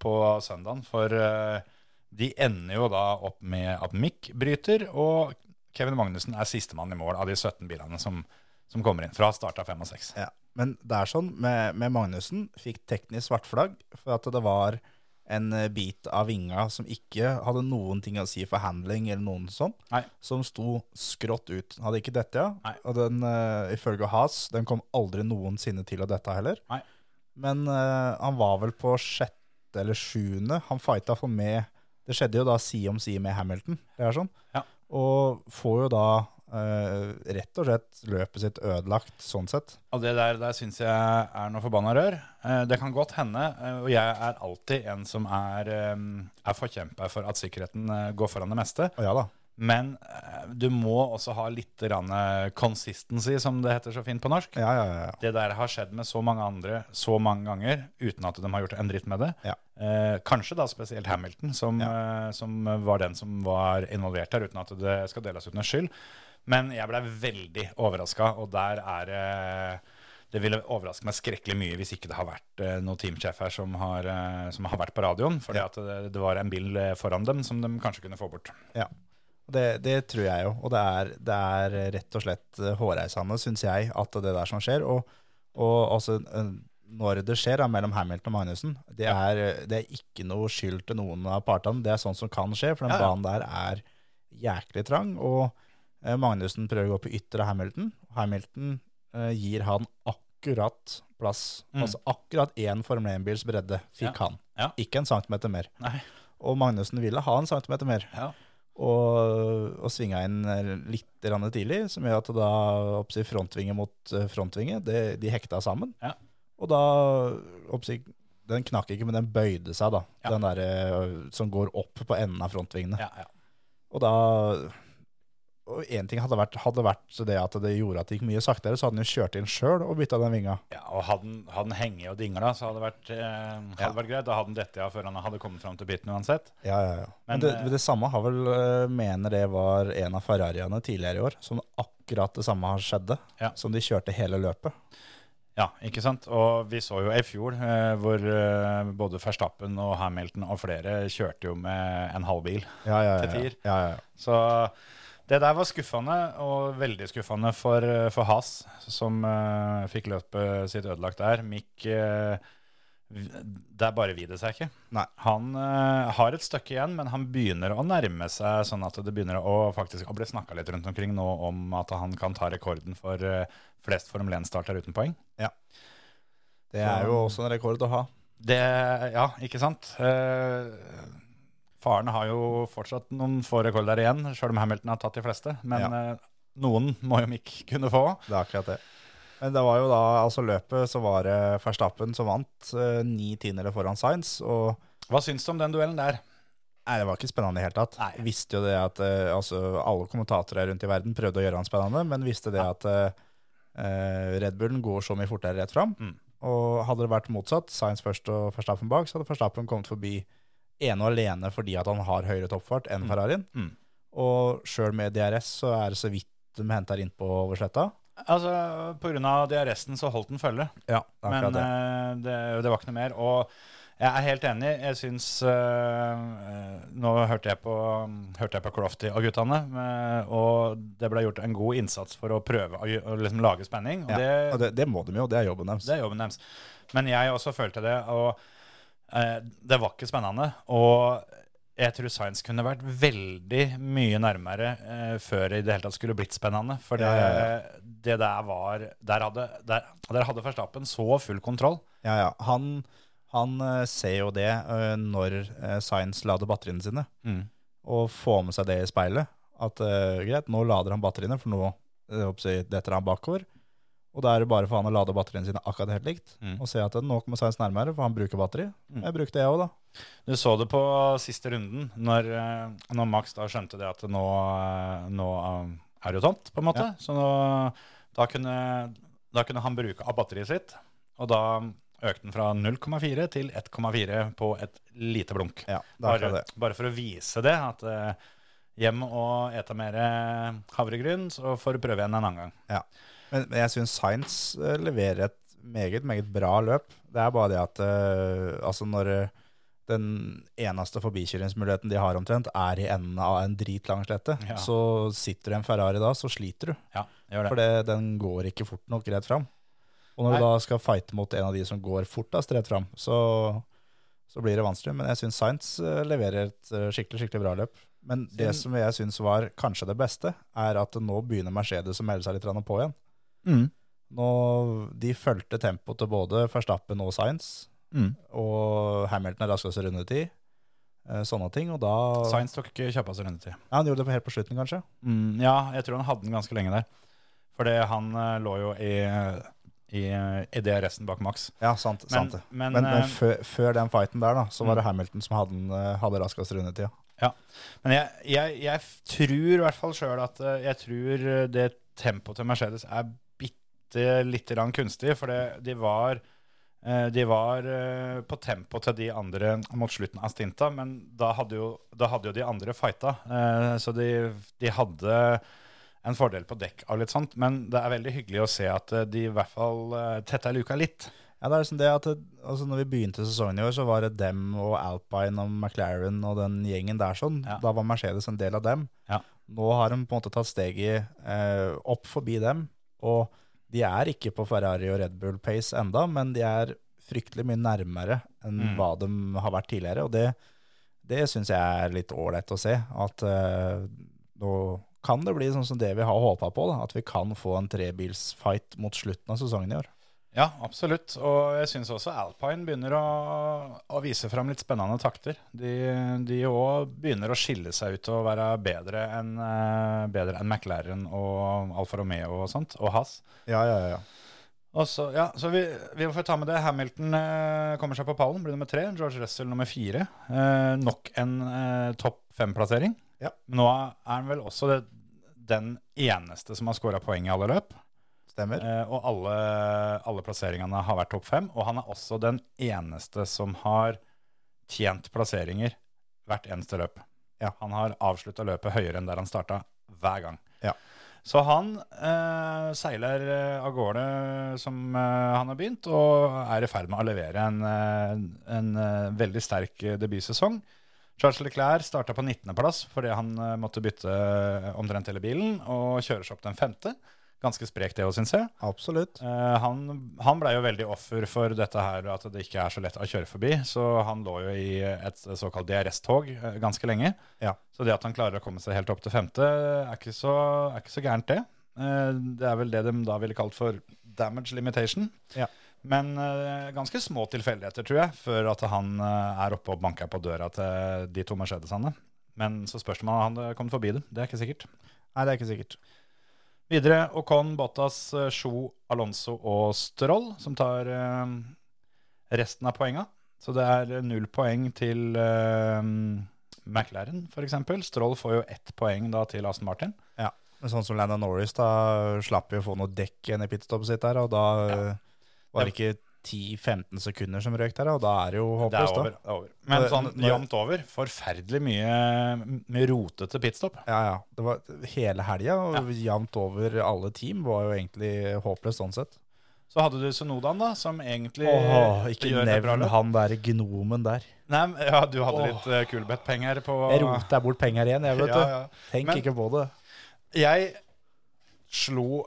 [SPEAKER 4] på søndagen. For eh, de ender jo da opp med at Mick bryter, og Kevin Magnussen er sistemann i mål av de 17 bilene som, som kommer inn. Fra start av fem og seks.
[SPEAKER 5] Ja, men det er sånn med, med Magnussen fikk teknisk svart flagg for at det var en eh, bit av vinga som ikke hadde noen ting å si for handling eller noen sånn,
[SPEAKER 4] Nei.
[SPEAKER 5] som sto skrått ut. Den hadde ikke dette, ja.
[SPEAKER 4] Nei.
[SPEAKER 5] Og den, eh, ifølge Has, den kom aldri noensinne til å dette heller.
[SPEAKER 4] Nei.
[SPEAKER 5] Men eh, han var vel på sjette eller sjuende. Han fighta for med Det skjedde jo da side om side med Hamilton, det er sånn.
[SPEAKER 4] Ja.
[SPEAKER 5] Og får jo da eh, rett og slett løpet sitt ødelagt, sånn sett.
[SPEAKER 4] Og det der, der syns jeg er noe forbanna rør. Eh, Det kan godt hende, eh, og jeg er alltid en som er, eh, er forkjemper for at sikkerheten eh, går foran det meste.
[SPEAKER 5] Å ja da.
[SPEAKER 4] Men eh, du må også ha litt grann, eh, consistency, som det heter så fint på norsk.
[SPEAKER 5] Ja, ja, ja, ja.
[SPEAKER 4] Det der har skjedd med så mange andre så mange ganger uten at de har gjort en dritt med det.
[SPEAKER 5] Ja.
[SPEAKER 4] Eh, kanskje da spesielt Hamilton, som, eh, som var den som var involvert her, uten at det skal deles ut noe skyld. Men jeg ble veldig overraska, og der er det det ville overraske meg skrekkelig mye hvis ikke det har vært eh, noen teamsjef her som har, eh, som har vært på radioen, fordi at det, det var en bil eh, foran dem som de kanskje kunne få bort.
[SPEAKER 5] ja. Og Det, det tror jeg jo, og det er, det er rett og slett eh, hårreisende, syns jeg, at det der som skjer. Og, og altså, eh, når det skjer da, mellom Hamilton og Magnussen, det er, eh, det er ikke noe skyld til noen av partene. Det er sånt som kan skje, for den
[SPEAKER 4] Ja, ja.
[SPEAKER 5] banen der er jæklig trang. Og eh, Magnussen prøver å gå på ytre av Hamilton. Hamilton eh, gir han akkurat plass.
[SPEAKER 4] Mm.
[SPEAKER 5] Altså akkurat én Formel 1-bils bredde fikk
[SPEAKER 4] Ja.
[SPEAKER 5] han.
[SPEAKER 4] Ja.
[SPEAKER 5] Ikke en centimeter mer.
[SPEAKER 4] Nei.
[SPEAKER 5] Og Magnussen ville ha en centimeter mer.
[SPEAKER 4] Ja.
[SPEAKER 5] Og, og svinga inn eh, litt grann tidlig, som gjør at da oppsi, frontvinge mot eh, frontvinge, det, de hekta sammen.
[SPEAKER 4] Ja.
[SPEAKER 5] Og da oppsi, Den knakk ikke, men den bøyde seg, da.
[SPEAKER 4] Ja.
[SPEAKER 5] Den derre eh, som går opp på enden av frontvingene.
[SPEAKER 4] Ja, ja.
[SPEAKER 5] Og da Og én ting hadde vært, hadde vært det at det gjorde at det gikk mye saktere, så hadde den jo kjørt inn sjøl og bytta den vinga.
[SPEAKER 4] Ja, og hadde den- hadde den hengt og dingla, så hadde det vært, eh, hadde
[SPEAKER 5] Ja.
[SPEAKER 4] vært greit. Da hadde den dette av før han hadde kommet fram til biten uansett.
[SPEAKER 5] Ja, ja, ja. Men,
[SPEAKER 4] Men,
[SPEAKER 5] det,
[SPEAKER 4] eh,
[SPEAKER 5] men det samme har vel eh, mener det var en av Ferrariene tidligere i år, som akkurat det samme har skjedde,
[SPEAKER 4] Ja.
[SPEAKER 5] som de kjørte hele løpet.
[SPEAKER 4] Ja, ikke sant? Og vi så jo i fjor eh, hvor eh, både Verstappen og Hamilton og flere kjørte jo med en halvbil.
[SPEAKER 5] Ja, ja,
[SPEAKER 4] Til tier.
[SPEAKER 5] Ja, ja, ja.
[SPEAKER 4] Så det der var skuffende, og veldig skuffende for, for Haas, som eh, fikk løpet sitt ødelagt der. Mick eh, v- Der bare vi det seg ikke.
[SPEAKER 5] Nei.
[SPEAKER 4] Han eh, har et stykke igjen, men han begynner å nærme seg sånn at det begynner å faktisk å bli snakka litt rundt omkring nå om at han kan ta rekorden for eh, flest Formel 1-starter uten poeng.
[SPEAKER 5] Det er jo også en rekord å ha.
[SPEAKER 4] Det Ja, ikke sant? Eh, faren har jo fortsatt noen få rekorder igjen, sjøl om Hamilton har tatt de fleste. Men eh, noen må jo Mick kunne få.
[SPEAKER 5] Det er akkurat det. Men det var jo da, altså løpet, så var det Verstappen som vant, eh, ni tiendere foran Sainz, og
[SPEAKER 4] Hva syns du om den duellen der?
[SPEAKER 5] Nei, det var ikke spennende i det hele tatt.
[SPEAKER 4] Nei.
[SPEAKER 5] Visste jo det at eh, altså, alle kommentatorer rundt i verden prøvde å gjøre han spennende, men visste det at eh, eh, Red Bullen går så mye fortere rett fram.
[SPEAKER 4] Mm.
[SPEAKER 5] Og hadde det vært motsatt, Sainz først og Verstappen bak, så hadde Verstappen kommet forbi ene og alene fordi at han har høyere toppfart enn Ferrarien.
[SPEAKER 4] Mm.
[SPEAKER 5] Og sjøl med DRS så er det så vidt de henter innpå over sletta.
[SPEAKER 4] Altså, Pga. DRS-en så holdt den følge,
[SPEAKER 5] Ja, det er
[SPEAKER 4] men
[SPEAKER 5] akkurat det.
[SPEAKER 4] eh, det, det var ikke noe mer. Og jeg er helt enig. Jeg syns eh, eh, Nå hørte jeg på, hørte jeg på Crofty og guttene, eh, og det ble gjort en god innsats for å prøve å, gjø- å liksom lage spenning. Og
[SPEAKER 5] Ja,
[SPEAKER 4] det,
[SPEAKER 5] og det, det må de jo, det er jobben deres.
[SPEAKER 4] Det er jobben deres. Men jeg også følte det, og eh, det var ikke spennende. Og jeg tror Science kunne vært veldig mye nærmere eh, før det i det hele tatt skulle blitt spennende. For det,
[SPEAKER 5] Ja, ja,
[SPEAKER 4] det der var Der hadde, der, der hadde Verstappen så full kontroll.
[SPEAKER 5] Ja, ja. Han, han eh, ser jo det eh, når eh, Sainz lader batteriene sine,
[SPEAKER 4] Mm.
[SPEAKER 5] og får med seg det i speilet. At eh, greit, nå lader han batteriene, for nå eh, oppsi, detter han bakover. Og da er det bare for han å lade batteriene sine akkurat helt likt.
[SPEAKER 4] Mm.
[SPEAKER 5] Og se at eh, nå kommer Sainz nærmere, for han bruker batteri.
[SPEAKER 4] Mm.
[SPEAKER 5] Jeg brukte jeg òg, da.
[SPEAKER 4] Du så det på siste runden, når, eh, når Max da skjønte det at nå, eh, nå eh, er det jo tomt, på en måte. Så nå, da, kunne, da kunne han bruke av batteriet sitt, og da økte den fra 0,4 til 1,4 på et lite blunk.
[SPEAKER 5] Ja, det er
[SPEAKER 4] Bare,
[SPEAKER 5] akkurat det.
[SPEAKER 4] bare for å vise det, at eh, hjem og ete mer eh, havregryn, så får du prøve igjen en annen gang.
[SPEAKER 5] Ja. Men, men jeg syns Sainz eh, leverer et meget, meget bra løp. Det er bare det at eh, altså når eh, den eneste forbikjøringsmuligheten de har omtrent, er i enden av en dritlang slette,
[SPEAKER 4] Ja.
[SPEAKER 5] så sitter du i en Ferrari da, så sliter du.
[SPEAKER 4] Ja, gjør det.
[SPEAKER 5] For det, den går ikke fort nok rett fram. Og når
[SPEAKER 4] Nei.
[SPEAKER 5] du da skal fighte mot en av de som går fortest rett fram, så, så blir det vanskelig. Men jeg syns Sainz eh, leverer et eh, skikkelig, skikkelig bra løp. Men det
[SPEAKER 4] Siden-
[SPEAKER 5] som jeg syns var kanskje det beste, er at nå begynner Mercedes å melde seg litt grann på igjen.
[SPEAKER 4] Mm.
[SPEAKER 5] Nå, de fulgte tempoet til både Verstappen og Sainz,
[SPEAKER 4] Mm.
[SPEAKER 5] og Hamilton er raskeste rundetid. eh, Sånne ting. Og da ja,
[SPEAKER 4] Sainz tok ikke kjøpa seg rundetid.
[SPEAKER 5] Han gjorde det på helt på slutten, kanskje.
[SPEAKER 4] Mm, ja, jeg tror han hadde den ganske lenge der. Fordi han eh, lå jo i, i, eh, i DRS-en bak Max.
[SPEAKER 5] Ja, sant, sant det.
[SPEAKER 4] men,
[SPEAKER 5] Men, men
[SPEAKER 4] eh,
[SPEAKER 5] før, før den fighten der, da, så
[SPEAKER 4] Mm.
[SPEAKER 5] var det Hamilton som hadde, den, eh, hadde raskest rundetid.
[SPEAKER 4] ja. men jeg, jeg, jeg f- tror i hvert fall sjøl at eh, jeg tror eh, det tempoet til Mercedes er bitte lite grann kunstig. For det, de var eh, de var eh, på tempo til de andre mot slutten av stinta, men da hadde jo, da hadde jo de andre fighta. eh, Så de, de hadde en fordel på dekk og litt sånt, men det er veldig hyggelig å se at eh, de i hvert fall eh, tetta luka litt.
[SPEAKER 5] Ja, det er liksom det at eh, altså, når vi begynte sesongen i år, så var det dem og Alpine og McLaren og den gjengen der sånn.
[SPEAKER 4] Ja.
[SPEAKER 5] Da var Mercedes en del av dem.
[SPEAKER 4] Ja.
[SPEAKER 5] Nå har de på en måte tatt steget eh, opp forbi dem, og de er ikke på Ferrari og Red Bull pace enda, men de er fryktelig mye nærmere enn
[SPEAKER 4] Mm.
[SPEAKER 5] hva de har vært tidligere, og det, det synes jeg er litt ålreit å se, at eh, nå kan det bli sånn som det vi har håpet på, da, at vi kan få en trebilsfight mot slutten av sesongen i år.
[SPEAKER 4] Ja, absolutt. Og jeg syns også Alpine begynner å, å vise fram litt spennende takter. De òg begynner å skille seg ut og være bedre enn eh, bedre enn McLaren og Alfa Romeo og sånt, og Haas.
[SPEAKER 5] Ja, ja, ja.
[SPEAKER 4] Og så, ja, så vi, vi får ta med det. Hamilton eh, kommer seg på pallen, blir nummer tre. George Russell nummer fire. Eh, nok en eh, topp fem-plassering.
[SPEAKER 5] Ja.
[SPEAKER 4] Nå er han vel også det, den eneste som har skåra poeng i alle løp.
[SPEAKER 5] Stemmer.
[SPEAKER 4] Eh, og alle, alle plasseringene har vært topp fem. Og han er også den eneste som har tjent plasseringer hvert eneste løp.
[SPEAKER 5] Ja.
[SPEAKER 4] Han har avslutta løpet høyere enn der han starta, hver gang.
[SPEAKER 5] Ja.
[SPEAKER 4] Så han eh, seiler eh, av gårde som eh, han har begynt, og er i ferd med å levere en, eh, en eh, veldig sterk eh, debutsesong. Charles Leclerc starta på 19.-plass fordi han eh, måtte bytte eh, omtrent hele bilen, og kjører seg opp den femte. Ganske sprekt det òg, syns jeg.
[SPEAKER 5] Absolutt.
[SPEAKER 4] Eh, han han blei jo veldig offer for dette her, at det ikke er så lett å kjøre forbi. Så han lå jo i et såkalt DRS-tog eh, ganske lenge.
[SPEAKER 5] Ja.
[SPEAKER 4] Så det at han klarer å komme seg helt opp til femte, er ikke så, er ikke så gærent, det. Eh, Det er vel det de da ville kalt for damage limitation.
[SPEAKER 5] Ja.
[SPEAKER 4] Men eh, ganske små tilfeldigheter, tror jeg, før at han eh, er oppe og banker på døra til de to Mercedesene. Men så spørs det om han hadde kommet forbi dem. Det er ikke sikkert.
[SPEAKER 5] Nei, det er ikke sikkert.
[SPEAKER 4] Videre Ocon, Bottas, eh, Sjo, Alonso og Stroll, som tar eh, resten av poenga. Så det er eh, null poeng til eh, McLaren, f.eks. Stroll får jo ett poeng da til Aston Martin.
[SPEAKER 5] Ja. Men sånn som Landon Norris, da slapp jo å få noe dekk igjen i pitstoppet sitt der, og da eh, var det ikke 10-15 sekunder som røyk der, og da er det jo
[SPEAKER 4] Det er
[SPEAKER 5] håpløst,
[SPEAKER 4] over.
[SPEAKER 5] da.
[SPEAKER 4] Det er over. Men
[SPEAKER 5] Når-
[SPEAKER 4] sånn
[SPEAKER 5] når-
[SPEAKER 4] jevnt over, forferdelig mye med rotete pitstop.
[SPEAKER 5] Ja, ja. Det var hele helga, og jevnt over alle team var jo egentlig håpløst sånn sett.
[SPEAKER 4] Så hadde du Sunodan, da, som egentlig
[SPEAKER 5] Åh, ikke
[SPEAKER 4] gjør et bra
[SPEAKER 5] nevn
[SPEAKER 4] løp.
[SPEAKER 5] han der gnomen der.
[SPEAKER 4] Nei, men- ja, du hadde
[SPEAKER 5] Åh.
[SPEAKER 4] litt uh, kulbettpenger på
[SPEAKER 5] Jeg rota bort penger igjen, jeg, vet
[SPEAKER 4] Ja,
[SPEAKER 5] du.
[SPEAKER 4] ja.
[SPEAKER 5] Tenk
[SPEAKER 4] Men-
[SPEAKER 5] ikke på det.
[SPEAKER 4] Jeg slo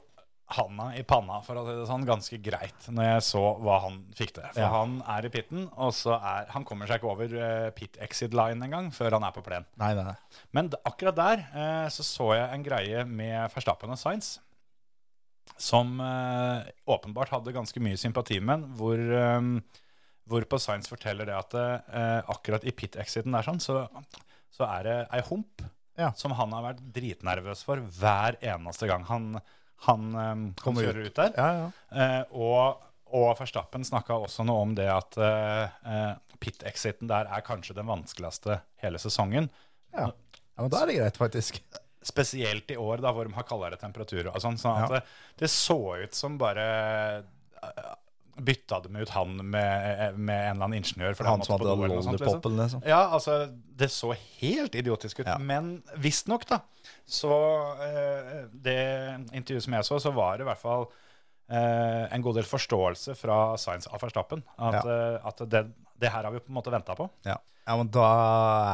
[SPEAKER 4] handa i panna, for å si det sånn, ganske greit når jeg så hva han fikk til. For
[SPEAKER 5] Ja.
[SPEAKER 4] han er i pitten, og så er Han kommer seg ikke over eh, pit exit line engang før han er på plen.
[SPEAKER 5] Nei, nei, nei.
[SPEAKER 4] Men d- akkurat der eh, så så jeg en greie med Verstappen og Sainz som eh, åpenbart hadde ganske mye sympati med, den, hvor, eh, hvorpå Sainz forteller det at eh, akkurat i pit-exiten der sånn, så, så er det ei hump
[SPEAKER 5] Ja.
[SPEAKER 4] som han har vært dritnervøs for hver eneste gang han, han, eh,
[SPEAKER 5] Kommer
[SPEAKER 4] kjører ut der.
[SPEAKER 5] Ja, ja.
[SPEAKER 4] Eh, og, og Verstappen snakka også noe om det at eh, eh, pit-exiten der er kanskje den vanskeligste hele sesongen.
[SPEAKER 5] Ja. ja, men da er det greit, faktisk.
[SPEAKER 4] Spesielt i år, da, hvor de har kaldere temperaturer. og sånn, sånn at
[SPEAKER 5] Ja.
[SPEAKER 4] det, det så ut som bare eh, bytta dem ut han med, eh, med en eller annen ingeniør. fordi
[SPEAKER 5] Han som
[SPEAKER 4] måtte på
[SPEAKER 5] hadde
[SPEAKER 4] do eller noe sånt, liksom.
[SPEAKER 5] lollipopen, liksom.
[SPEAKER 4] Ja, altså, det så helt idiotisk ut.
[SPEAKER 5] Ja.
[SPEAKER 4] Men visstnok, da, så eh, Det intervjuet som jeg så, så var det i hvert fall eh, en god del forståelse fra Science av Verstappen. At, eh, at det, det her har vi på en måte venta på.
[SPEAKER 5] Ja. ja, men da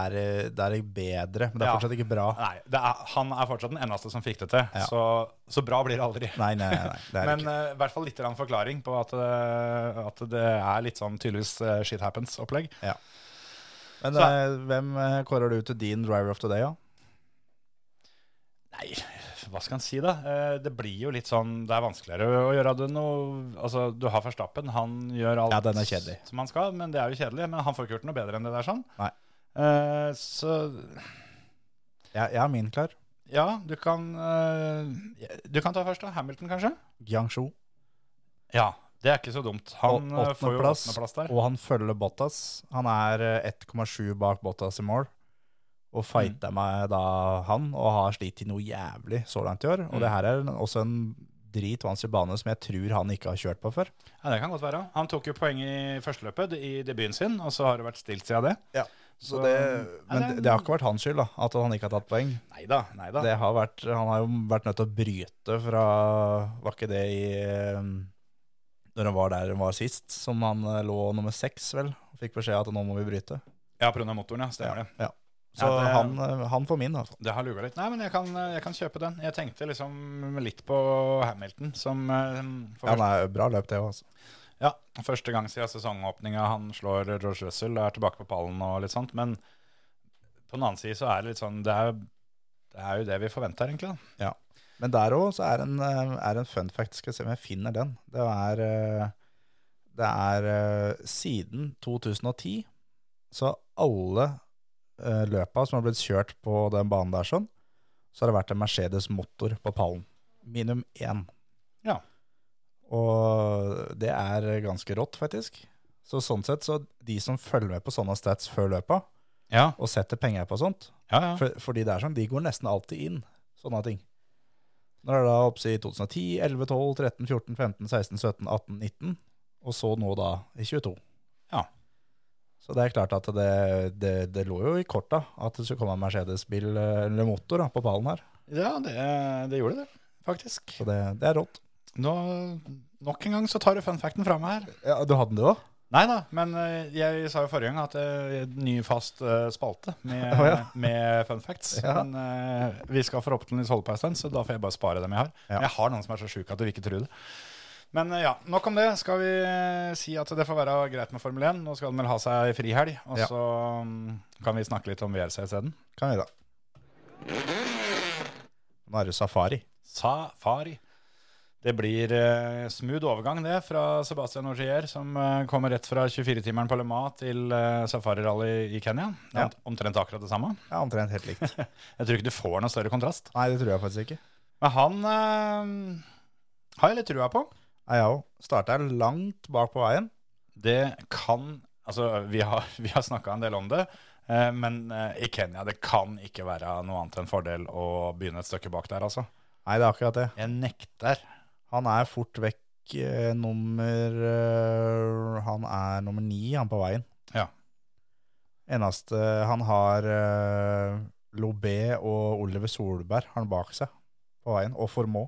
[SPEAKER 5] er det, da er det bedre, men det er
[SPEAKER 4] Ja.
[SPEAKER 5] fortsatt ikke bra.
[SPEAKER 4] Nei, det er, han er fortsatt den eneste som fikk det til.
[SPEAKER 5] Ja.
[SPEAKER 4] Så, så bra blir det aldri.
[SPEAKER 5] Nei, nei, nei, nei. det er
[SPEAKER 4] Men
[SPEAKER 5] det ikke.
[SPEAKER 4] eh, i hvert fall litt grann forklaring på at, eh, at det er litt sånn tydeligvis eh, shit happens-opplegg.
[SPEAKER 5] Men
[SPEAKER 4] så-
[SPEAKER 5] eh, hvem eh, kårer du til din driver of the day, da?
[SPEAKER 4] Nei, hva skal en si, da? Eh, det blir jo litt sånn Det er vanskeligere å gjøre det noe Altså, du har Verstappen, han gjør alt
[SPEAKER 5] Ja, den er kjedelig.
[SPEAKER 4] som han skal, men det er jo kjedelig. Men han får ikke gjort noe bedre enn det der, sånn.
[SPEAKER 5] Nei.
[SPEAKER 4] Eh, så
[SPEAKER 5] Jeg, jeg har min klar.
[SPEAKER 4] ja, du kan eh, Du kan ta først, da. Hamilton, kanskje?
[SPEAKER 5] Jiangsu.
[SPEAKER 4] Ja. Det er ikke så dumt. Han eh, får jo
[SPEAKER 5] Åttendeplass,
[SPEAKER 4] åttendeplass der.
[SPEAKER 5] og han følger Bottas. Han er eh, 1,7 bak Bottas i mål, og
[SPEAKER 4] Mm.
[SPEAKER 5] fighter meg da han, og har slitt til noe jævlig så langt i år.
[SPEAKER 4] Mm.
[SPEAKER 5] Og det her er en- også en dritvanskelig bane som jeg tror han ikke har kjørt på før.
[SPEAKER 4] Ja, det kan godt være. Han tok jo poeng i førsteløpet i debuten sin, og så har det vært stilt siden det.
[SPEAKER 5] Så det, men det, det har ikke vært hans skyld da, at han ikke har tatt poeng.
[SPEAKER 4] Neida, neida.
[SPEAKER 5] Det har vært, han har jo vært nødt til å bryte fra Var ikke det i eh, Når han var der han var sist, som han eh, lå nummer seks, vel? og Fikk beskjed at nå må vi bryte.
[SPEAKER 4] Ja, pga. motoren, ja. Stemmer det.
[SPEAKER 5] Ja. Så
[SPEAKER 4] Ja, det-
[SPEAKER 5] han, eh, han får min, i hvert fall.
[SPEAKER 4] Det har luga litt. Nei, men jeg kan, jeg kan kjøpe den. Jeg tenkte liksom litt på Hamilton, som eh, for
[SPEAKER 5] Ja, han er bra løp, det òg, altså.
[SPEAKER 4] første, ja, første gang siden sesongåpninga han slår George Russell og er tilbake på pallen og litt sånt. Men på den annen side så er det litt sånn Det er, det er jo det vi forventer, egentlig. da.
[SPEAKER 5] Men der òg er en, eh, er en fun fact. Skal vi se om jeg finner den. Det er eh, det er eh, siden 2010, så har alle eh, løpa som har blitt kjørt på den banen der sånn, så har det vært en Mercedes motor på pallen. Minimum én.
[SPEAKER 4] Ja.
[SPEAKER 5] Og det er ganske rått, faktisk. Så sånn sett, så de som følger med på sånne stats før løpa,
[SPEAKER 4] Ja,
[SPEAKER 5] og setter penger på sånt,
[SPEAKER 4] ja, ja.
[SPEAKER 5] for, fordi det er sånn, de går nesten alltid inn, sånne ting. Når det er da oppsi 2010, 11, 12, 13, 14, 15, 16, 17, 18, 19, og så nå da i 22.
[SPEAKER 4] Ja.
[SPEAKER 5] Så det er klart at det, det, det lå jo i korta at det skulle komme en Mercedes-bil eh, eller motor da, på pallen her.
[SPEAKER 4] ja det, det gjorde det, faktisk.
[SPEAKER 5] Så det, det er rått.
[SPEAKER 4] Nå, nok en gang så tar du fun facten fra meg her.
[SPEAKER 5] Ja, du hadde den du også?
[SPEAKER 4] Nei da, men eh, jeg sa jo forrige gang at eh, ny fast eh, spalte med,
[SPEAKER 5] Å, ja.
[SPEAKER 4] med fun facts.
[SPEAKER 5] Ja.
[SPEAKER 4] Men eh, vi skal forhåpentligvis holde på en stund, så da får jeg bare spare dem jeg har.
[SPEAKER 5] Ja.
[SPEAKER 4] Jeg har noen som er så sjuke at du vil ikke tro det. Men eh, ja, nok om det. Skal vi eh, si at det får være greit med Formel 1. Nå skal den vel ha seg frihelg, og
[SPEAKER 5] Ja.
[SPEAKER 4] så mm, kan vi snakke litt om VRC isteden.
[SPEAKER 5] Kan vi da. Nå er det safari.
[SPEAKER 4] Safari. Det blir eh, smooth overgang det fra Sebastian Ogier, som eh, kommer rett fra 24-timeren på Le Mans til eh, safarirally i Kenya. Det er
[SPEAKER 5] Ja.
[SPEAKER 4] om- Omtrent akkurat det samme.
[SPEAKER 5] Ja, omtrent helt likt.
[SPEAKER 4] Jeg tror ikke du får noen større kontrast.
[SPEAKER 5] Nei, det tror jeg faktisk ikke.
[SPEAKER 4] Men han eh, har jeg litt trua på.
[SPEAKER 5] Nei, jeg også. Startet jeg langt bak på veien.
[SPEAKER 4] Det kan Altså, vi har, vi har snakka en del om det, eh, men eh, i Kenya det kan ikke være noe annet enn fordel å begynne et stykke bak der, altså.
[SPEAKER 5] Nei, det er akkurat det.
[SPEAKER 4] Jeg nekter.
[SPEAKER 5] Han er fort vekk eh, nummer eh, Han er nummer ni, han på veien.
[SPEAKER 4] Ja.
[SPEAKER 5] Eneste Han har eh, Lobé og Oliver Solberg har han bak seg på veien. Og Formå.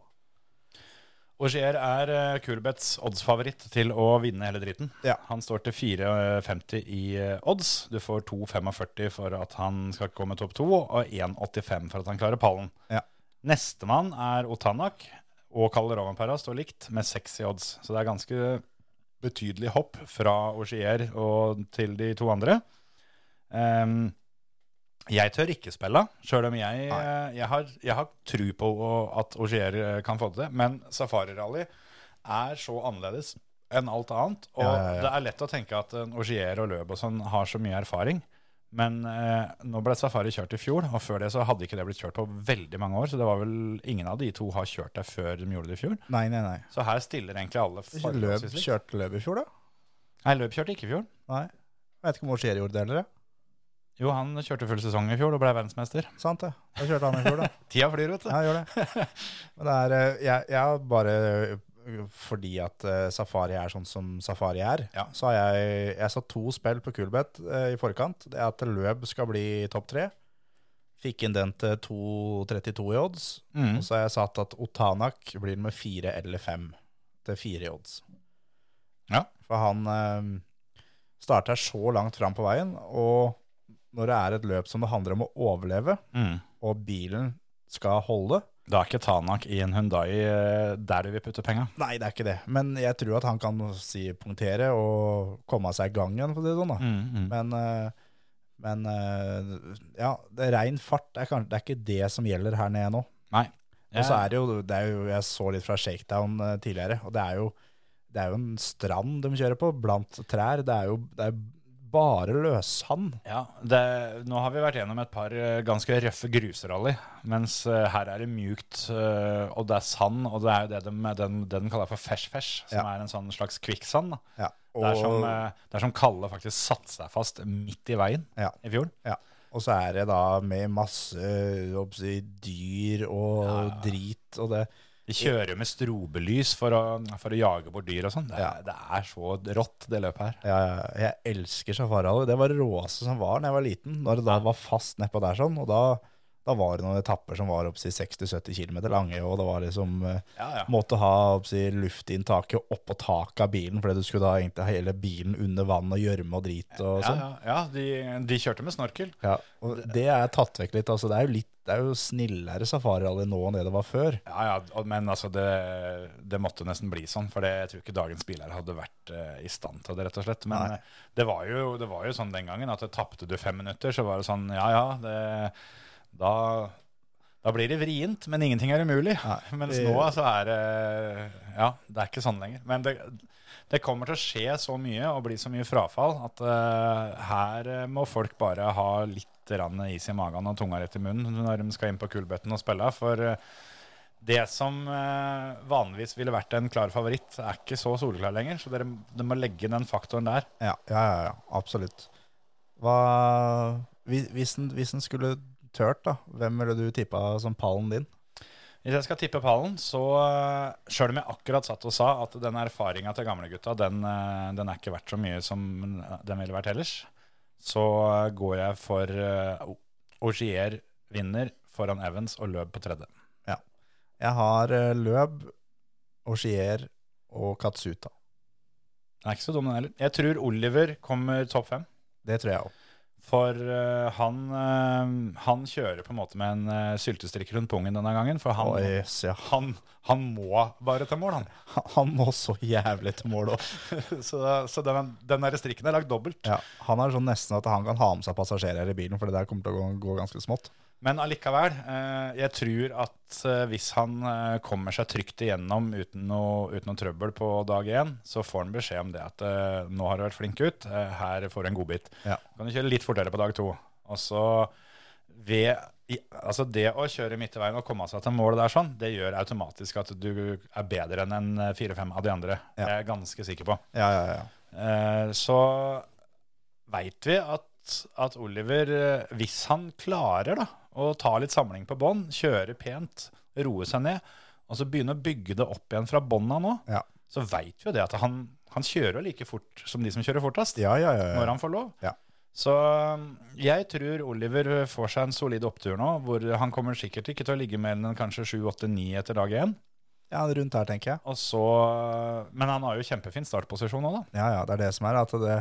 [SPEAKER 4] Ogier er eh, Kurbets oddsfavoritt til å vinne hele driten.
[SPEAKER 5] Ja.
[SPEAKER 4] Han står til 4,50 i eh, odds. Du får 2,45 for at han skal komme topp to, og 1,85 for at han klarer pallen.
[SPEAKER 5] Ja.
[SPEAKER 4] Nestemann er Otanak, og Kalle Rovanpera står likt med 6 i odds. Så det er ganske betydelig hopp fra Ogier og til de to andre. Ehm, jeg tør ikke spille, sjøl om jeg, eh, jeg, har, jeg har tru på å- at Ogier eh, kan få det til. Men safarirally er så annerledes enn alt annet. Og
[SPEAKER 5] Ja, ja, ja.
[SPEAKER 4] det er lett å tenke at eh, Ogier og Løb og sånn har så mye erfaring. Men eh, nå ble safari kjørt i fjor, og før det så hadde ikke det blitt kjørt på veldig mange år. Så det var vel ingen av de to har kjørt der før de gjorde det i fjor.
[SPEAKER 5] Nei, nei, nei.
[SPEAKER 4] Så her stiller egentlig alle
[SPEAKER 5] Det er ikke Løb,
[SPEAKER 4] forholdsvis likt.
[SPEAKER 5] kjørte løp i fjor, da?
[SPEAKER 4] Nei, løp kjørte ikke i fjor.
[SPEAKER 5] Nei. Jeg vet ikke om Ogier gjorde det heller. jeg.
[SPEAKER 4] Jo, han kjørte full sesong i fjor og ble verdensmester.
[SPEAKER 5] Sant det. Da kjørte han i fjor, da.
[SPEAKER 4] Tida flyr, vet du.
[SPEAKER 5] Ja, jeg gjør det. Men det er eh, jeg, jeg har bare eh, fordi at eh, Safari er sånn som Safari er,
[SPEAKER 4] Ja.
[SPEAKER 5] så har jeg, jeg satt to spill på Kulbeth eh, i forkant. Det er at Løb skal bli topp tre. Fikk inn den til 2,32 i odds.
[SPEAKER 4] Mm.
[SPEAKER 5] Og så har jeg satt at Otanak blir med fire eller fem til fire i odds.
[SPEAKER 4] Ja.
[SPEAKER 5] For han eh, starter så langt fram på veien, og når det er et løp som det handler om å overleve,
[SPEAKER 4] Mm.
[SPEAKER 5] og bilen skal holde,
[SPEAKER 4] Da er ikke Tanak i en Hundai der du vil putte penga.
[SPEAKER 5] Nei, det er ikke det. Men jeg tror at han kan si punktere og komme seg i gang igjen, for å si det sånn.
[SPEAKER 4] Mm.
[SPEAKER 5] da. Men, eh, men eh, ja, det er rein fart det er, kanskje, det er ikke det som gjelder her nede nå.
[SPEAKER 4] Nei.
[SPEAKER 5] Og så er det jo, det er jo Jeg så litt fra Shakedown eh, tidligere, og det er jo det er jo en strand de kjører på, blant trær. Det er jo det er bare løssand.
[SPEAKER 4] ja, det, nå har vi vært gjennom et par eh, ganske røffe grusrally, mens eh, her er det mjukt, eh, og det er sand, og det er jo det de, den, det de kaller for fesh-fesh, som
[SPEAKER 5] Ja.
[SPEAKER 4] er en sånn slags kvikksand. da.
[SPEAKER 5] Ja, og,
[SPEAKER 4] Det er, som, eh, det er som Kalle faktisk satte seg fast midt i veien
[SPEAKER 5] Ja.
[SPEAKER 4] i fjor.
[SPEAKER 5] Ja. Og så er det da med masse eh, hva skal jeg si, dyr og drit og det.
[SPEAKER 4] De kjører jo med strobelys for å, for å jage bort dyr og sånn. Det, er-
[SPEAKER 5] Ja.
[SPEAKER 4] det er så rått, det løpet her.
[SPEAKER 5] Ja, ja, jeg elsker safarihallen. Det var det råeste som var da jeg var liten. Når det da var fast nedpå der sånn, og da, da var det noen etapper som var oppsi 60-70 km lange, og det var liksom eh,
[SPEAKER 4] Ja, ja.
[SPEAKER 5] Måtte ha oppsi luftinntaket oppå taket av bilen, fordi du skulle da egentlig ha hele bilen under vann og gjørme og drit og
[SPEAKER 4] Ja,
[SPEAKER 5] sånn.
[SPEAKER 4] ja, ja de, de kjørte med snorkel.
[SPEAKER 5] Ja, og det er tatt vekk litt. altså Det er jo litt, det er jo snillere safarihall nå enn det det var før.
[SPEAKER 4] Ja, ja, og- Men altså, det, det måtte nesten bli sånn, for det, jeg tror ikke dagens biler hadde vært eh, i stand til det, rett og slett. Men
[SPEAKER 5] Nei.
[SPEAKER 4] eh, det var, jo, det var jo sånn den gangen at tapte du fem minutter, så var det sånn, ja, ja, det, da, Da blir det vrient, men ingenting er umulig. Mens
[SPEAKER 5] det-
[SPEAKER 4] nå så er det Ja, det er ikke sånn lenger. Men det, det kommer til å skje så mye og bli så mye frafall at eh, her eh, må folk bare ha litt grann is i magen og tunga rett i munnen når de skal inn på Kulbøtten og spille. For eh, det som eh, vanligvis ville vært en klar favoritt, er ikke så soleklar lenger. Så dere, dere må legge den faktoren der.
[SPEAKER 5] Ja, ja, ja, ja absolutt. Hva, hvis, hvis, den, hvis den skulle tørt, da, hvem ville du tippa som pallen din?
[SPEAKER 4] Hvis jeg skal tippe pallen, så sjøl om jeg akkurat satt og sa at den erfaringa til gamlegutta, den, eh, den er ikke verdt så mye som den ville vært ellers, så eh, går jeg for eh, O- Ogier vinner foran Evans og Løb på tredje.
[SPEAKER 5] Jeg har eh, Løb, Oshier og Katsuta.
[SPEAKER 4] Den er ikke så dum, den heller. Jeg tror Oliver kommer topp fem.
[SPEAKER 5] Det tror jeg òg.
[SPEAKER 4] For eh, han, eh, han kjører på en måte med en eh, syltestrikk rundt pungen denne gangen. For han,
[SPEAKER 5] Å, jøss, ja.
[SPEAKER 4] han, han må bare ta mål, han.
[SPEAKER 5] Han må så jævlig til mål òg.
[SPEAKER 4] så så den, den der strikken er lagd dobbelt.
[SPEAKER 5] Ja, han er sånn nesten at han kan ha med seg passasjerer i bilen, for det der kommer til å gå, gå ganske smått.
[SPEAKER 4] Men allikevel, eh, jeg tror at eh, hvis han eh, kommer seg trygt igjennom uten noe, uten noe trøbbel på dag én, så får han beskjed om det at eh, nå har du vært flink gutt, eh, her får du en godbit.
[SPEAKER 5] Ja.
[SPEAKER 4] Kan du kjøre litt fortere på dag to. Og så ved, i, altså det å kjøre midt i veien og komme seg til mål der sånn, det gjør automatisk at du er bedre enn en eh, fire-fem av de andre.
[SPEAKER 5] Ja.
[SPEAKER 4] Det er jeg ganske sikker på.
[SPEAKER 5] Ja, ja, ja.
[SPEAKER 4] Eh, så veit vi at, at Oliver, eh, hvis han klarer da, å ta litt samling på bånn, kjøre pent, roe seg ned, og så begynne å bygge det opp igjen fra bånna nå,
[SPEAKER 5] Ja.
[SPEAKER 4] så veit vi jo det at han, han kjører jo like fort som de som kjører fortest,
[SPEAKER 5] Ja, ja, ja, ja.
[SPEAKER 4] når han får lov.
[SPEAKER 5] Ja.
[SPEAKER 4] Så eh, jeg tror Oliver får seg en solid opptur nå, hvor han kommer sikkert ikke til å ligge mer enn kanskje 7-8-9 etter dag 1.
[SPEAKER 5] ja, rundt her, tenker jeg.
[SPEAKER 4] Og så, eh, men han har jo kjempefin startposisjon nå da.
[SPEAKER 5] Ja, ja, det er det som er. At det,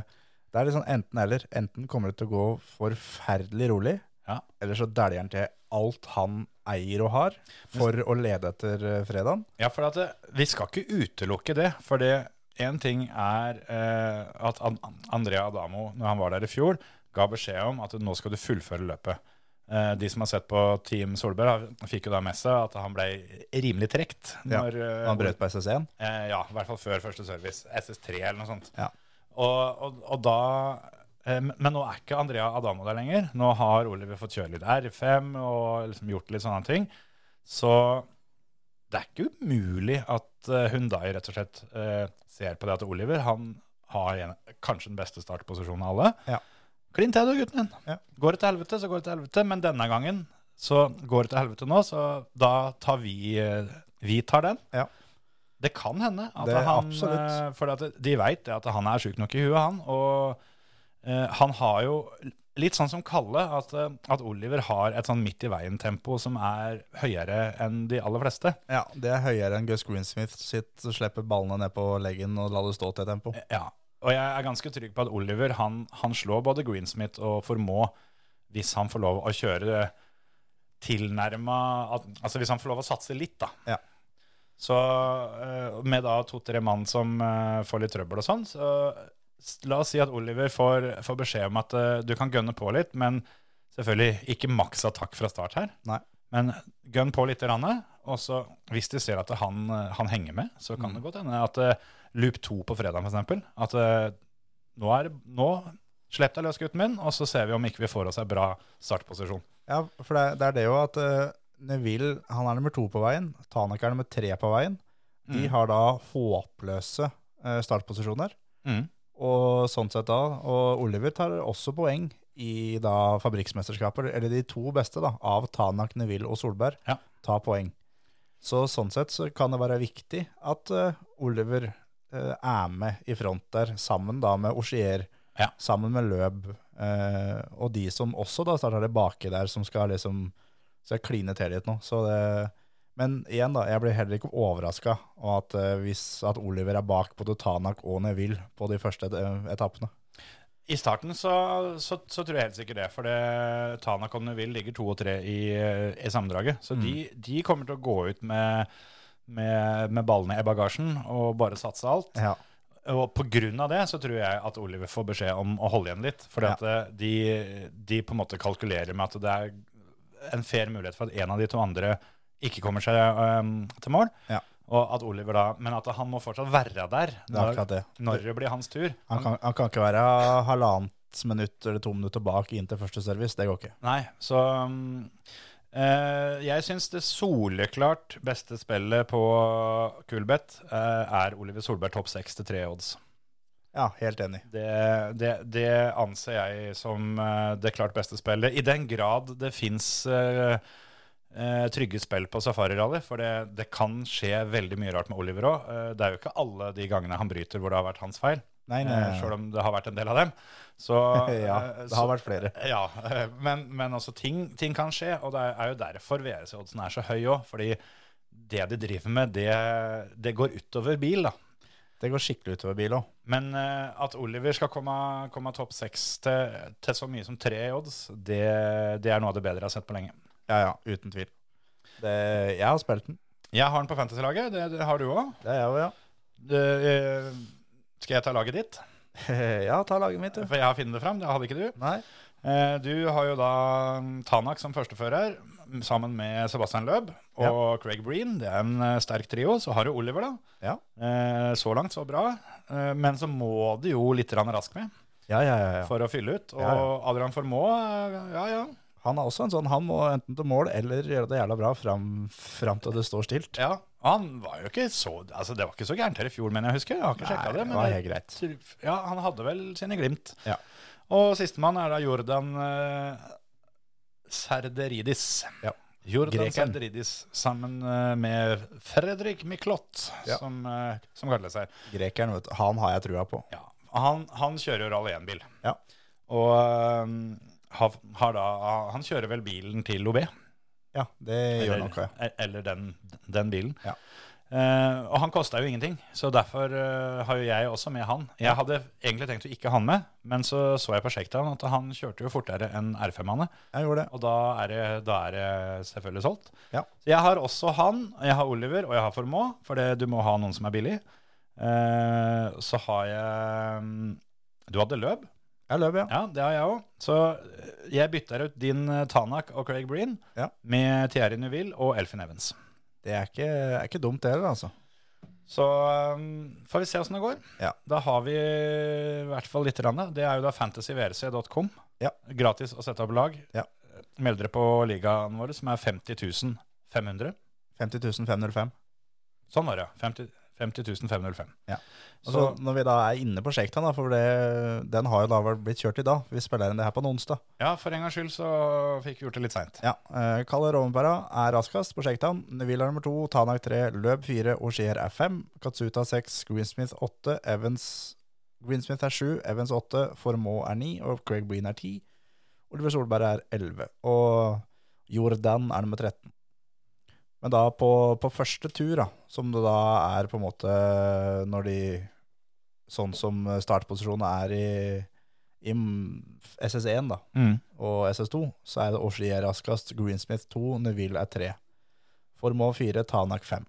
[SPEAKER 5] det er litt sånn enten eller. Enten kommer det til å gå forferdelig rolig,
[SPEAKER 4] Ja.
[SPEAKER 5] eller så dæljer han til alt han eier og har, for å lede etter eh, fredagen.
[SPEAKER 4] Ja, for at det, vi skal ikke utelukke det. For det én ting er eh, at An Andrea Adamo, når han var der i fjor, ga beskjed om at nå skal du fullføre løpet. Eh, de som har sett på Team Solberg, har- fikk jo da med seg at han ble rimelig trekt.
[SPEAKER 5] Ja,
[SPEAKER 4] Når, eh,
[SPEAKER 5] Han brøt på SS1.
[SPEAKER 4] Eh, ja, i hvert fall før første service. SS3 eller noe sånt.
[SPEAKER 5] Ja.
[SPEAKER 4] Og, og, og da eh, Men nå er ikke Andrea Adamo der lenger. Nå har Oliver fått kjøre litt R5 og liksom gjort litt sånne ting. Så det er ikke umulig at eh, Hyundai rett og slett eh, ser på det at Oliver han har en, kanskje den beste startposisjonen av alle.
[SPEAKER 5] Ja.
[SPEAKER 4] Klin til, du, gutten min.
[SPEAKER 5] Ja.
[SPEAKER 4] Går det til helvete, så går det til helvete. Men denne gangen så går det til helvete nå, så da tar vi eh, Vi tar den.
[SPEAKER 5] Ja.
[SPEAKER 4] Det kan hende. At
[SPEAKER 5] Det-
[SPEAKER 4] han,
[SPEAKER 5] absolutt.
[SPEAKER 4] eh, For at de veit at han er sjuk nok i huet, han. Og eh, han har jo litt sånn som Kalle, at, eh, at Oliver har et sånn midt i veien-tempo som er høyere enn de aller fleste.
[SPEAKER 5] Ja, det er høyere enn Gus Greensmith sitt, så slipper ballene ned på leggen og la det stå til tempo.
[SPEAKER 4] Ja. Og jeg er ganske trygg på at Oliver han, han slår både Greensmith og Formå hvis han får lov å kjøre tilnærma at- Altså hvis han får lov å satse litt, da.
[SPEAKER 5] Ja.
[SPEAKER 4] Så eh, med da to-tre mann som eh, får litt trøbbel og sånn, så s- la oss si at Oliver får, får beskjed om at eh, du kan gønne på litt, men selvfølgelig ikke maks attakk fra start her.
[SPEAKER 5] Nei.
[SPEAKER 4] Men gønn på litt, grann, og så hvis de ser at han, eh, han henger med, så kan det godt hende at eh, loop to på fredag, for eksempel, at eh, nå, er, det- nå slipp deg løs, gutten min, og så ser vi om ikke vi får oss en bra startposisjon.
[SPEAKER 5] Ja, for det, det er det jo at eh, Neville, han er nummer to på veien, Tanek er nummer tre på veien. De har da håpløse eh, startposisjoner,
[SPEAKER 4] Mm.
[SPEAKER 5] og sånn sett da, og Oliver tar også poeng i da fabriksmesterskaper, eller de to beste da, av Tanak, Neville og Solberg,
[SPEAKER 4] Ja.
[SPEAKER 5] tar poeng. Så sånn sett så kan det være viktig at eh, Oliver eh, er med i front der, sammen da med Oshier,
[SPEAKER 4] Ja.
[SPEAKER 5] sammen med Løb, eh, og de som også da starter det baki der, som skal liksom skal kline til litt nå. Så det, men igjen da, jeg blir heller ikke overraska av at, eh, hvis- at Oliver er bak både Tanak og Neville på de første eh, etappene.
[SPEAKER 4] I starten så, så, så tror jeg helt sikkert det, for det, Tanak og Neville ligger to og tre i, eh, i sammendraget. Så de, de kommer til å gå ut med, med, med ballene i bagasjen og bare satse alt.
[SPEAKER 5] Ja.
[SPEAKER 4] Og på grunn av det så tror jeg at Oliver får beskjed om å holde igjen litt. For
[SPEAKER 5] Ja.
[SPEAKER 4] de, de på en måte kalkulerer med at det er en fair mulighet for at en av de to andre ikke kommer seg øhm, til mål.
[SPEAKER 5] Ja.
[SPEAKER 4] Og at Oliver da, Men at han må fortsatt være der
[SPEAKER 5] Det er
[SPEAKER 4] når,
[SPEAKER 5] akkurat det.
[SPEAKER 4] når det blir hans tur.
[SPEAKER 5] Han kan, han kan ikke være halvannet minutt eller to minutter bak inn til første service. Det går ikke.
[SPEAKER 4] Nei, så um, eh, Jeg syns det soleklart beste spillet på Kulbeth eh, er Oliver Solberg topp seks til tre odds.
[SPEAKER 5] Ja, helt enig.
[SPEAKER 4] Det, det, det anser jeg som eh, det klart beste spillet. I den grad det fins trygge spill på safarirally, for det, det kan skje veldig mye rart med Oliver òg. det er jo ikke alle de gangene han bryter hvor det har vært hans feil,
[SPEAKER 5] Nei, nei,
[SPEAKER 4] uh, sjøl om det har vært en del av dem. Så,
[SPEAKER 5] Eh, ja,
[SPEAKER 4] eh,
[SPEAKER 5] det har
[SPEAKER 4] så-
[SPEAKER 5] vært flere.
[SPEAKER 4] ja, eh, men, men også ting, ting kan skje, og det er jo derfor VRC-oddsen er så høy òg. Fordi det de driver med, det, det går utover bil, da.
[SPEAKER 5] Det går skikkelig utover bil òg.
[SPEAKER 4] Men eh, at Oliver skal komme, komme topp seks til, til så mye som tre i odds, det, det er noe av det bedre jeg har sett på lenge.
[SPEAKER 5] Ja, ja, uten tvil. Det, jeg har spilt den.
[SPEAKER 4] Jeg har den på Fantasy-laget, det, det har du òg.
[SPEAKER 5] Det er jeg òg, ja.
[SPEAKER 4] Skal jeg ta laget ditt?
[SPEAKER 5] ja, ta laget mitt, du.
[SPEAKER 4] For jeg har funnet det fram, det hadde ikke du.
[SPEAKER 5] Nei.
[SPEAKER 4] Eh, Du har jo da mm, Tanak som førstefører, m, sammen med Sebastian Løb og Craig Breen. Det er en eh, sterk trio. Så har du Oliver, da.
[SPEAKER 5] Ja.
[SPEAKER 4] Eh, Så langt, så bra. Eh, Men så må du jo litt grann raskt med
[SPEAKER 5] Ja, ja, ja, ja.
[SPEAKER 4] for å fylle ut. Og
[SPEAKER 5] Ja, ja.
[SPEAKER 4] Adrian Formå, eh, ja ja.
[SPEAKER 5] Han er også en sånn, han må enten til mål eller gjøre det jævla bra fram, fram til det står stilt.
[SPEAKER 4] ja. Han var jo ikke så Altså, det var ikke så gærent her i fjor, men jeg husker. Jeg har ikke sjekka det.
[SPEAKER 5] det
[SPEAKER 4] Men
[SPEAKER 5] var
[SPEAKER 4] det-
[SPEAKER 5] helt greit.
[SPEAKER 4] ja, han hadde vel sine glimt.
[SPEAKER 5] Ja.
[SPEAKER 4] Og sistemann er da Jordan eh, Serderidis.
[SPEAKER 5] Ja.
[SPEAKER 4] Jordan
[SPEAKER 5] Grekeren.
[SPEAKER 4] Serderidis sammen eh, med Fredrik Miklott,
[SPEAKER 5] Ja.
[SPEAKER 4] som, eh, som kaller seg.
[SPEAKER 5] Grekeren, vet du. Han har jeg trua på.
[SPEAKER 4] Ja. Han, han kjører jo Rally 1-bil.
[SPEAKER 5] Ja.
[SPEAKER 4] Og eh, har, har da, han kjører vel bilen til Lobé.
[SPEAKER 5] Ja, det gjør
[SPEAKER 4] Eller, e-
[SPEAKER 5] noe.
[SPEAKER 4] eller den, den bilen.
[SPEAKER 5] Ja.
[SPEAKER 4] Eh, og han kosta jo ingenting, så derfor eh, har jo jeg også med han. Jeg hadde egentlig tenkt å ikke ha han med, men så så jeg på sjekkdagen at han kjørte jo fortere enn R5-ene.
[SPEAKER 5] Jeg gjorde det.
[SPEAKER 4] Og da er, det, da er det selvfølgelig solgt.
[SPEAKER 5] Ja.
[SPEAKER 4] Så jeg har også han, og jeg har Oliver, og jeg har Formå, for det, du må ha noen som er billig. Eh, så har jeg mm, Du hadde løp.
[SPEAKER 5] Jeg løp, ja.
[SPEAKER 4] Ja, det har jeg òg. Så jeg bytter ut din eh, Tanak og Craig Breen
[SPEAKER 5] Ja.
[SPEAKER 4] med Thierry Nuville og Elfin Evans.
[SPEAKER 5] Det er ikke, er ikke dumt det heller, altså.
[SPEAKER 4] Så um, får vi se åssen det går.
[SPEAKER 5] Ja.
[SPEAKER 4] Da har vi i hvert fall litt. Rande. Det er jo da fantasyvrc.com.
[SPEAKER 5] Ja.
[SPEAKER 4] Gratis å sette opp lag.
[SPEAKER 5] Ja.
[SPEAKER 4] Meld dere på ligaen vår, som er 50 500.
[SPEAKER 5] 50 505.
[SPEAKER 4] Sånn var det. 50, 50 505.
[SPEAKER 5] Ja.
[SPEAKER 4] Så,
[SPEAKER 5] Altså, når vi da er inne på Shakedown, da, for det, den har jo da vel blitt kjørt i dag. Vi spiller inn det her på en onsdag.
[SPEAKER 4] ja, for en gangs skyld så fikk vi gjort det litt seint.
[SPEAKER 5] Ja, eh, Kalle Rovenpera er raskest på Shakedown. Neville er nummer to, Tanak tre, Løb fire, Ogier er fem, Katsuta seks, Greensmith åtte, Evans Greensmith er sju, Evans åtte, Formå er ni, og Craig Breen er ti. Oliver Solberg er elleve, og Jordan er nummer 13. Men da på, på første tur, da, som det da er på en måte når de Sånn som startposisjonen er i, i SS1, da
[SPEAKER 4] Mm.
[SPEAKER 5] og SS2, så er det Oshier raskest, Greensmith 2, Neville er 3. Formå 4, Tanak 5.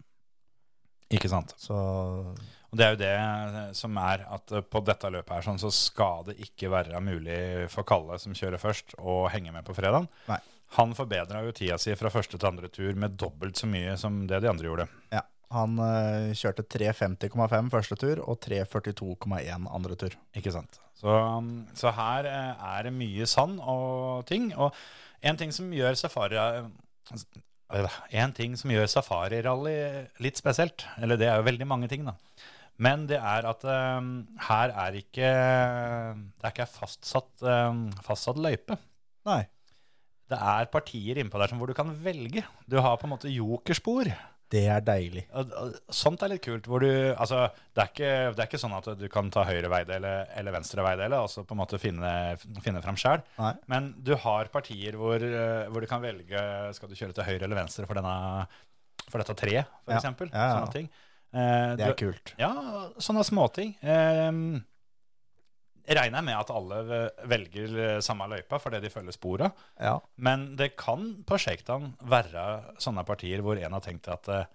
[SPEAKER 4] Ikke sant.
[SPEAKER 5] Så
[SPEAKER 4] Og Det er jo det som er at på dette løpet her sånn, så skal det ikke være mulig for Kalle, som kjører først, å henge med på fredagen.
[SPEAKER 5] Nei.
[SPEAKER 4] Han forbedra jo tida si fra første til andre tur med dobbelt så mye som det de andre gjorde.
[SPEAKER 5] ja, han eh, kjørte 3.50,5 første tur og 3.42,1 andre tur.
[SPEAKER 4] Ikke sant? Så, um, så her eh, er det mye sand og ting. Og en ting som gjør safari eh, En ting som gjør safarirally litt spesielt, eller det er jo veldig mange ting, da. Men det er at um, her er ikke Det er ikke en fastsatt, um, fastsatt løype.
[SPEAKER 5] Nei.
[SPEAKER 4] Det er partier innpå der som hvor du kan velge. Du har på en måte jokerspor.
[SPEAKER 5] Det er deilig.
[SPEAKER 4] Og- og Sånt er litt kult. Hvor du, altså, det, er ikke, det er ikke sånn at du kan ta høyre veidele eller venstre veidele og så på en måte finne, finne fram sjøl.
[SPEAKER 5] Nei.
[SPEAKER 4] Men du har partier hvor, eh, hvor du kan velge skal du kjøre til høyre eller venstre for, denne, for dette treet,
[SPEAKER 5] Ja.
[SPEAKER 4] f.eks. eksempel
[SPEAKER 5] Ja, ja, ja.
[SPEAKER 4] Sånne ting. Eh,
[SPEAKER 5] Det er
[SPEAKER 4] du,
[SPEAKER 5] kult.
[SPEAKER 4] ja, sånne småting. Eh, regner jeg med at alle velger eh, samme løypa fordi de følger spora.
[SPEAKER 5] Ja.
[SPEAKER 4] Men det kan på shakedown være sånne partier hvor en har tenkt at eh,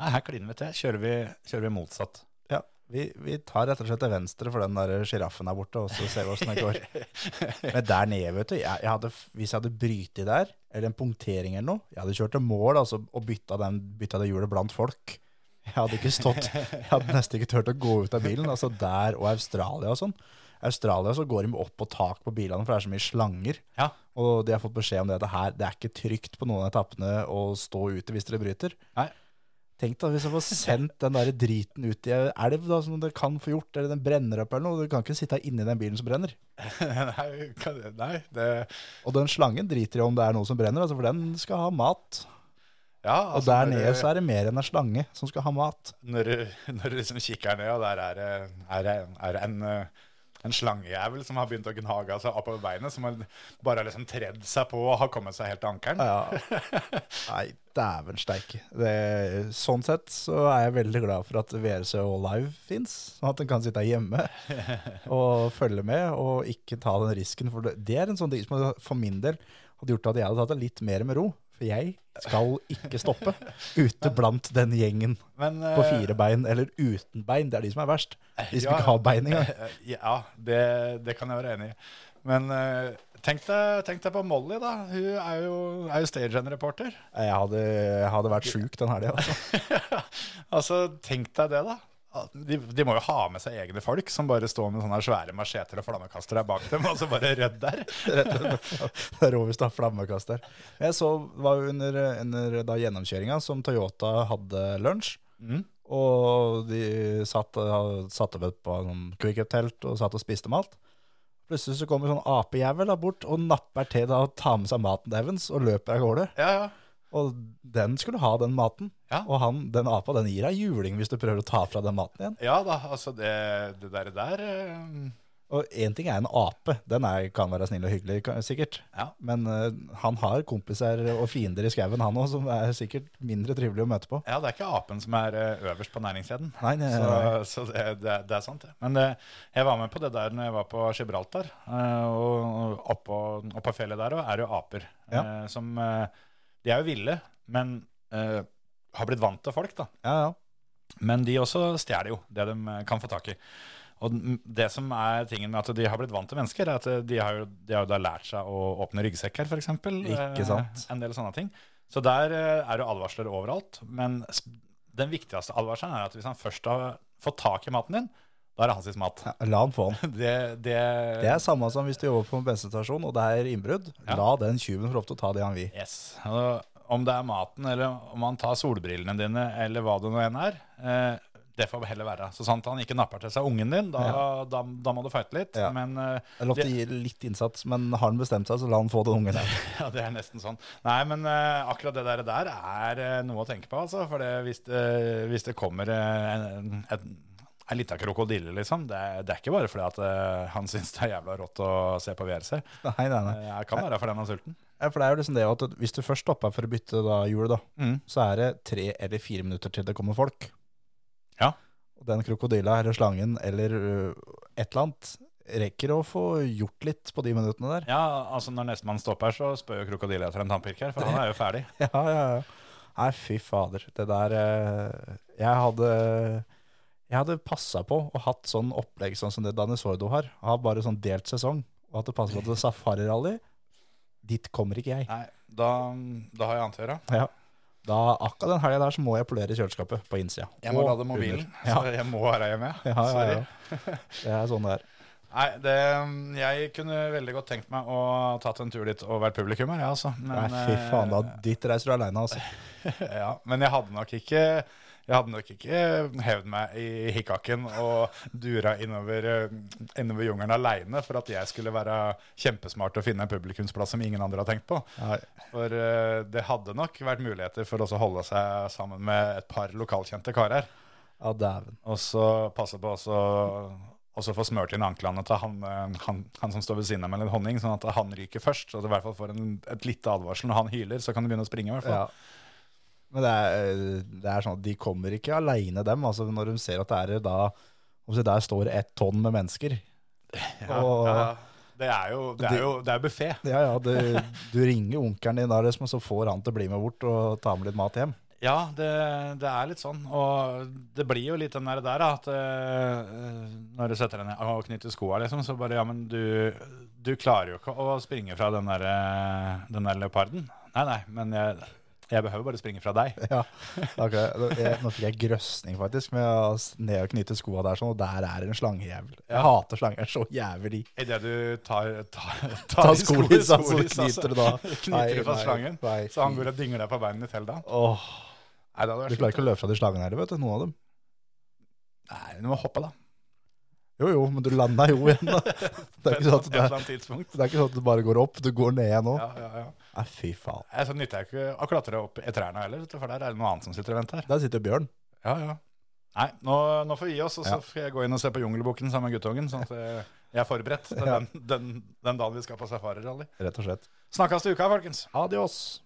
[SPEAKER 4] Nei, her kliner vi til. Kjører vi, kjører vi motsatt.
[SPEAKER 5] ja. Vi, vi tar rett og slett til venstre for den der sjiraffen der borte, og så ser vi åssen det går. Men der nede, vet du jeg, jeg hadde, Hvis jeg hadde brytet der, eller en punktering eller noe. Jeg hadde kjørt til mål altså, og bytta, den, bytta det hjulet blant folk. Jeg hadde ikke stått, jeg hadde nesten ikke turt å gå ut av bilen. altså Der og Australia og sånn. Australia så går de opp på tak på bilene, for det er så mye slanger.
[SPEAKER 4] Ja.
[SPEAKER 5] Og de har fått beskjed om det at det her, det er ikke trygt på noen av etappene å stå ute hvis dere bryter.
[SPEAKER 4] Nei.
[SPEAKER 5] Tenk da, hvis jeg får sendt den der driten ut i ei elv da, som det kan få gjort, eller den brenner opp eller noe, du kan ikke sitte inni den bilen som brenner.
[SPEAKER 4] nei, kan- nei, det
[SPEAKER 5] Og den slangen driter jo om det er noe som brenner, altså, for den skal ha mat.
[SPEAKER 4] ja,
[SPEAKER 5] Og
[SPEAKER 4] altså,
[SPEAKER 5] der
[SPEAKER 4] når
[SPEAKER 5] nede
[SPEAKER 4] du-
[SPEAKER 5] så er det mer enn en slange som skal ha mat.
[SPEAKER 4] når, du- når du liksom kikker ned, og der er det, er det, er det en, eh, en slangejævel som har begynt å gnage av seg oppover beinet, som har bare har liksom tredd seg på og har kommet seg helt til ankelen.
[SPEAKER 5] Nei, dæven steike. Det- Sånn sett så er jeg veldig glad for at VRCH Live fins, sånn at en kan sitte hjemme og følge med og ikke ta den risken. For det det er en sånn ting som for min del hadde gjort at jeg hadde tatt det litt mer med ro. For jeg skal ikke stoppe ute blant den gjengen
[SPEAKER 4] Men,
[SPEAKER 5] på
[SPEAKER 4] eh,
[SPEAKER 5] fire bein, eller uten bein. Det er de som er verst. De som
[SPEAKER 4] Ja.
[SPEAKER 5] ikke har bein engang.
[SPEAKER 4] Ja, det, det kan jeg være enig i. Men eh, tenk, deg, tenk deg på Molly, da. Hun er jo, er jo stagehand-reporter.
[SPEAKER 5] Jeg hadde, jeg hadde vært sjuk den helga. Altså.
[SPEAKER 4] altså, tenk deg det, da. De, de må jo ha med seg egne folk som bare står med sånne svære macheter og flammekastere bak dem, og så bare rødd der.
[SPEAKER 5] Rett og slett. Det er råvist av flammekast der. Jeg så var jo under, under da gjennomkjøringa som Toyota hadde lunsj. Og de satt, satt opp på noen Quick Up-telt og satt og spiste mat. Plutselig så kommer sånn apejævel da bort og napper til da og tar med seg maten til Evans og løper av gårde.
[SPEAKER 4] Ja, ja.
[SPEAKER 5] Og den skulle ha den maten.
[SPEAKER 4] Ja.
[SPEAKER 5] Og han, den apa den gir deg juling hvis du prøver å ta fra den maten igjen.
[SPEAKER 4] Ja da, altså det, det der, der eh,
[SPEAKER 5] Og én ting er en ape, den er, kan være snill og hyggelig, kan- sikkert.
[SPEAKER 4] Ja.
[SPEAKER 5] Men eh, han har kompiser og fiender i skauen, han òg, som er sikkert mindre trivelig å møte på.
[SPEAKER 4] Ja, det er ikke apen som er eh, øverst på næringskjeden.
[SPEAKER 5] Nei, nei, nei,
[SPEAKER 4] Så,
[SPEAKER 5] nei.
[SPEAKER 4] så det, det, det er sant, det. Men det, jeg var med på det der når jeg var på Gibraltar. eh, Og oppå, oppå fjellet der også er det jo aper.
[SPEAKER 5] Ja.
[SPEAKER 4] eh, Som, eh, de er jo ville, men eh, har blitt vant til folk, da.
[SPEAKER 5] Ja, ja.
[SPEAKER 4] Men de også stjeler jo det de eh, kan få tak i. Og den- det som er tingen med at de har blitt vant til mennesker, er at eh, de har jo, de har jo da lært seg å åpne ryggsekker, f.eks.
[SPEAKER 5] Ikke sant.
[SPEAKER 4] Eh, en del sånne ting. Så der eh, er det jo advarsler overalt. Men sp- den viktigste advarselen er at hvis han først har fått tak i maten din, da er det hans mat.
[SPEAKER 5] Ja, La han få den.
[SPEAKER 4] Det, det,
[SPEAKER 5] Det er samme som hvis du jobber på en bensinstasjon og det er innbrudd.
[SPEAKER 4] Ja.
[SPEAKER 5] La den tjuven få lov til å ta det han vil.
[SPEAKER 4] Yes. Og om det er maten, eller om han tar solbrillene dine, eller hva det nå enn er, eh, det får heller være. Så sant han ikke napper til seg ungen din, da, da, da må du fighte litt.
[SPEAKER 5] Ja.
[SPEAKER 4] Men eh,
[SPEAKER 5] Det er lov til å gi litt innsats, men har han bestemt seg, så la han få den ungen der.
[SPEAKER 4] ja, det er nesten sånn. Nei, men eh, akkurat det der, der er eh, noe å tenke på, altså. For det, hvis, det, hvis det kommer eh, en, en, en lita krokodille, liksom, det, er- det er ikke bare fordi at eh, han syns det er jævla rått å se på VRC.
[SPEAKER 5] Nei, nei, nei.
[SPEAKER 4] Det kan være fordi han er sulten.
[SPEAKER 5] Ja, For det er jo liksom det at hvis du først stopper for å bytte da hjulet, da,
[SPEAKER 4] Mm.
[SPEAKER 5] så er det tre eller fire minutter til det kommer folk.
[SPEAKER 4] Ja.
[SPEAKER 5] Og den krokodilla eller slangen eller ø, et eller annet rekker å få gjort litt på de minuttene der.
[SPEAKER 4] Ja, altså Når nestemann stopper, så spør jo krokodilla etter en tannpirker, for han er jo ferdig.
[SPEAKER 5] Ja, ja, ja. Nei, fy fader. Det der ø, Jeg hadde Jeg hadde passa på og hatt sånn opplegg sånn som det Dani Sordo har. Har bare sånn delt sesong. Og at det passer på at det er safarirally. Dit kommer ikke jeg.
[SPEAKER 4] Nei, da, da har jeg annet å gjøre.
[SPEAKER 5] Ja. Da, akkurat den helga der så må jeg polere kjøleskapet på innsida.
[SPEAKER 4] Jeg må
[SPEAKER 5] Og
[SPEAKER 4] lade mobilen,
[SPEAKER 5] under. Ja.
[SPEAKER 4] så jeg må være hjemme.
[SPEAKER 5] Ja, ja,
[SPEAKER 4] Sorry.
[SPEAKER 5] ja. Det er sånn det er.
[SPEAKER 4] Nei, det, jeg kunne veldig godt tenkt meg å tatt en tur dit og vært publikummer, jeg altså. Men,
[SPEAKER 5] Nei, fy faen, da. Dit reiser du aleine, altså.
[SPEAKER 4] eh, Ja, men jeg hadde nok ikke jeg hadde nok ikke hevd meg i hikkaken og dura innover, eh, innover jungelen aleine for at jeg skulle være kjempesmart og finne en publikumsplass som ingen andre har tenkt på.
[SPEAKER 5] Nei.
[SPEAKER 4] For eh, det hadde nok vært muligheter for også å holde seg sammen med et par lokalkjente karer.
[SPEAKER 5] Ja, dæven.
[SPEAKER 4] Og så passe på også og så få smørt inn anklene til han, eh, han, han som står ved siden av med litt honning, sånn at han ryker først. Så du i hvert fall får en, et lite advarsel når han hyler, så kan du begynne å springe. i hvert fall.
[SPEAKER 5] Ja. Men det er, det er sånn at de kommer ikke aleine, dem. Altså, når de ser at det er da om det Der står ett tonn med mennesker. og, ja,
[SPEAKER 4] Det er jo, det er jo det er buffé.
[SPEAKER 5] ja, du, du ringer onkelen din, da, liksom, og så får han til å bli med bort og ta med litt mat hjem.
[SPEAKER 4] Ja, det, det er litt sånn. Og det blir jo litt den der, der da, at eh, når du setter deg ned og knytter skoa, liksom, så bare Ja, men du, du klarer jo ikke å springe fra den der, eh, den der leoparden. Nei, nei, men jeg, jeg behøver bare springe fra deg.
[SPEAKER 5] Ja, det er akkurat det. Jeg, nå fikk jeg grøsning faktisk med å s- ned og knyte skoa der sånn, og der er det en slangejævel. Jeg hater slanger så jævlig.
[SPEAKER 4] Idet du tar, tar,
[SPEAKER 5] Ta
[SPEAKER 4] i
[SPEAKER 5] skoliss,
[SPEAKER 4] sko- i
[SPEAKER 5] altså,
[SPEAKER 4] skolis, altså.
[SPEAKER 5] knyter du da. Nei,
[SPEAKER 4] Knyter du fast
[SPEAKER 5] nei,
[SPEAKER 4] slangen,
[SPEAKER 5] nei,
[SPEAKER 4] så han
[SPEAKER 5] fy.
[SPEAKER 4] går og dynger deg på beinet ditt hele dagen.
[SPEAKER 5] Åh,
[SPEAKER 4] Nei, det hadde
[SPEAKER 5] du
[SPEAKER 4] vært
[SPEAKER 5] klarer
[SPEAKER 4] slutt.
[SPEAKER 5] ikke å løpe fra de slangene heller, vet du, noen av dem.
[SPEAKER 4] Nei, du må hoppe, da.
[SPEAKER 5] Jo, jo, men du landa jo igjen da. Det er ikke sånn at
[SPEAKER 4] Et
[SPEAKER 5] det
[SPEAKER 4] eller
[SPEAKER 5] er,
[SPEAKER 4] annet tidspunkt.
[SPEAKER 5] det er ikke sånn at du bare går opp, du går ned igjen nå.
[SPEAKER 4] Ja, ja, ja.
[SPEAKER 5] Nei, fy faen.
[SPEAKER 4] Nei, Eh, Så nytter jeg ikke å klatre opp i trærne heller, vet du, for der er det noe annet som sitter og venter.
[SPEAKER 5] Der sitter Bjørn.
[SPEAKER 4] Ja, ja. Nei, nå, nå får vi gi oss, og så
[SPEAKER 5] Ja.
[SPEAKER 4] skal jeg gå inn og se på Jungelboken sammen med guttungen, sånn at eh, jeg er forberedt til
[SPEAKER 5] Ja.
[SPEAKER 4] den, den, den dagen vi skal på safarirally.
[SPEAKER 5] Rett og slett.
[SPEAKER 4] Snakkes til uka, folkens!
[SPEAKER 5] Adios.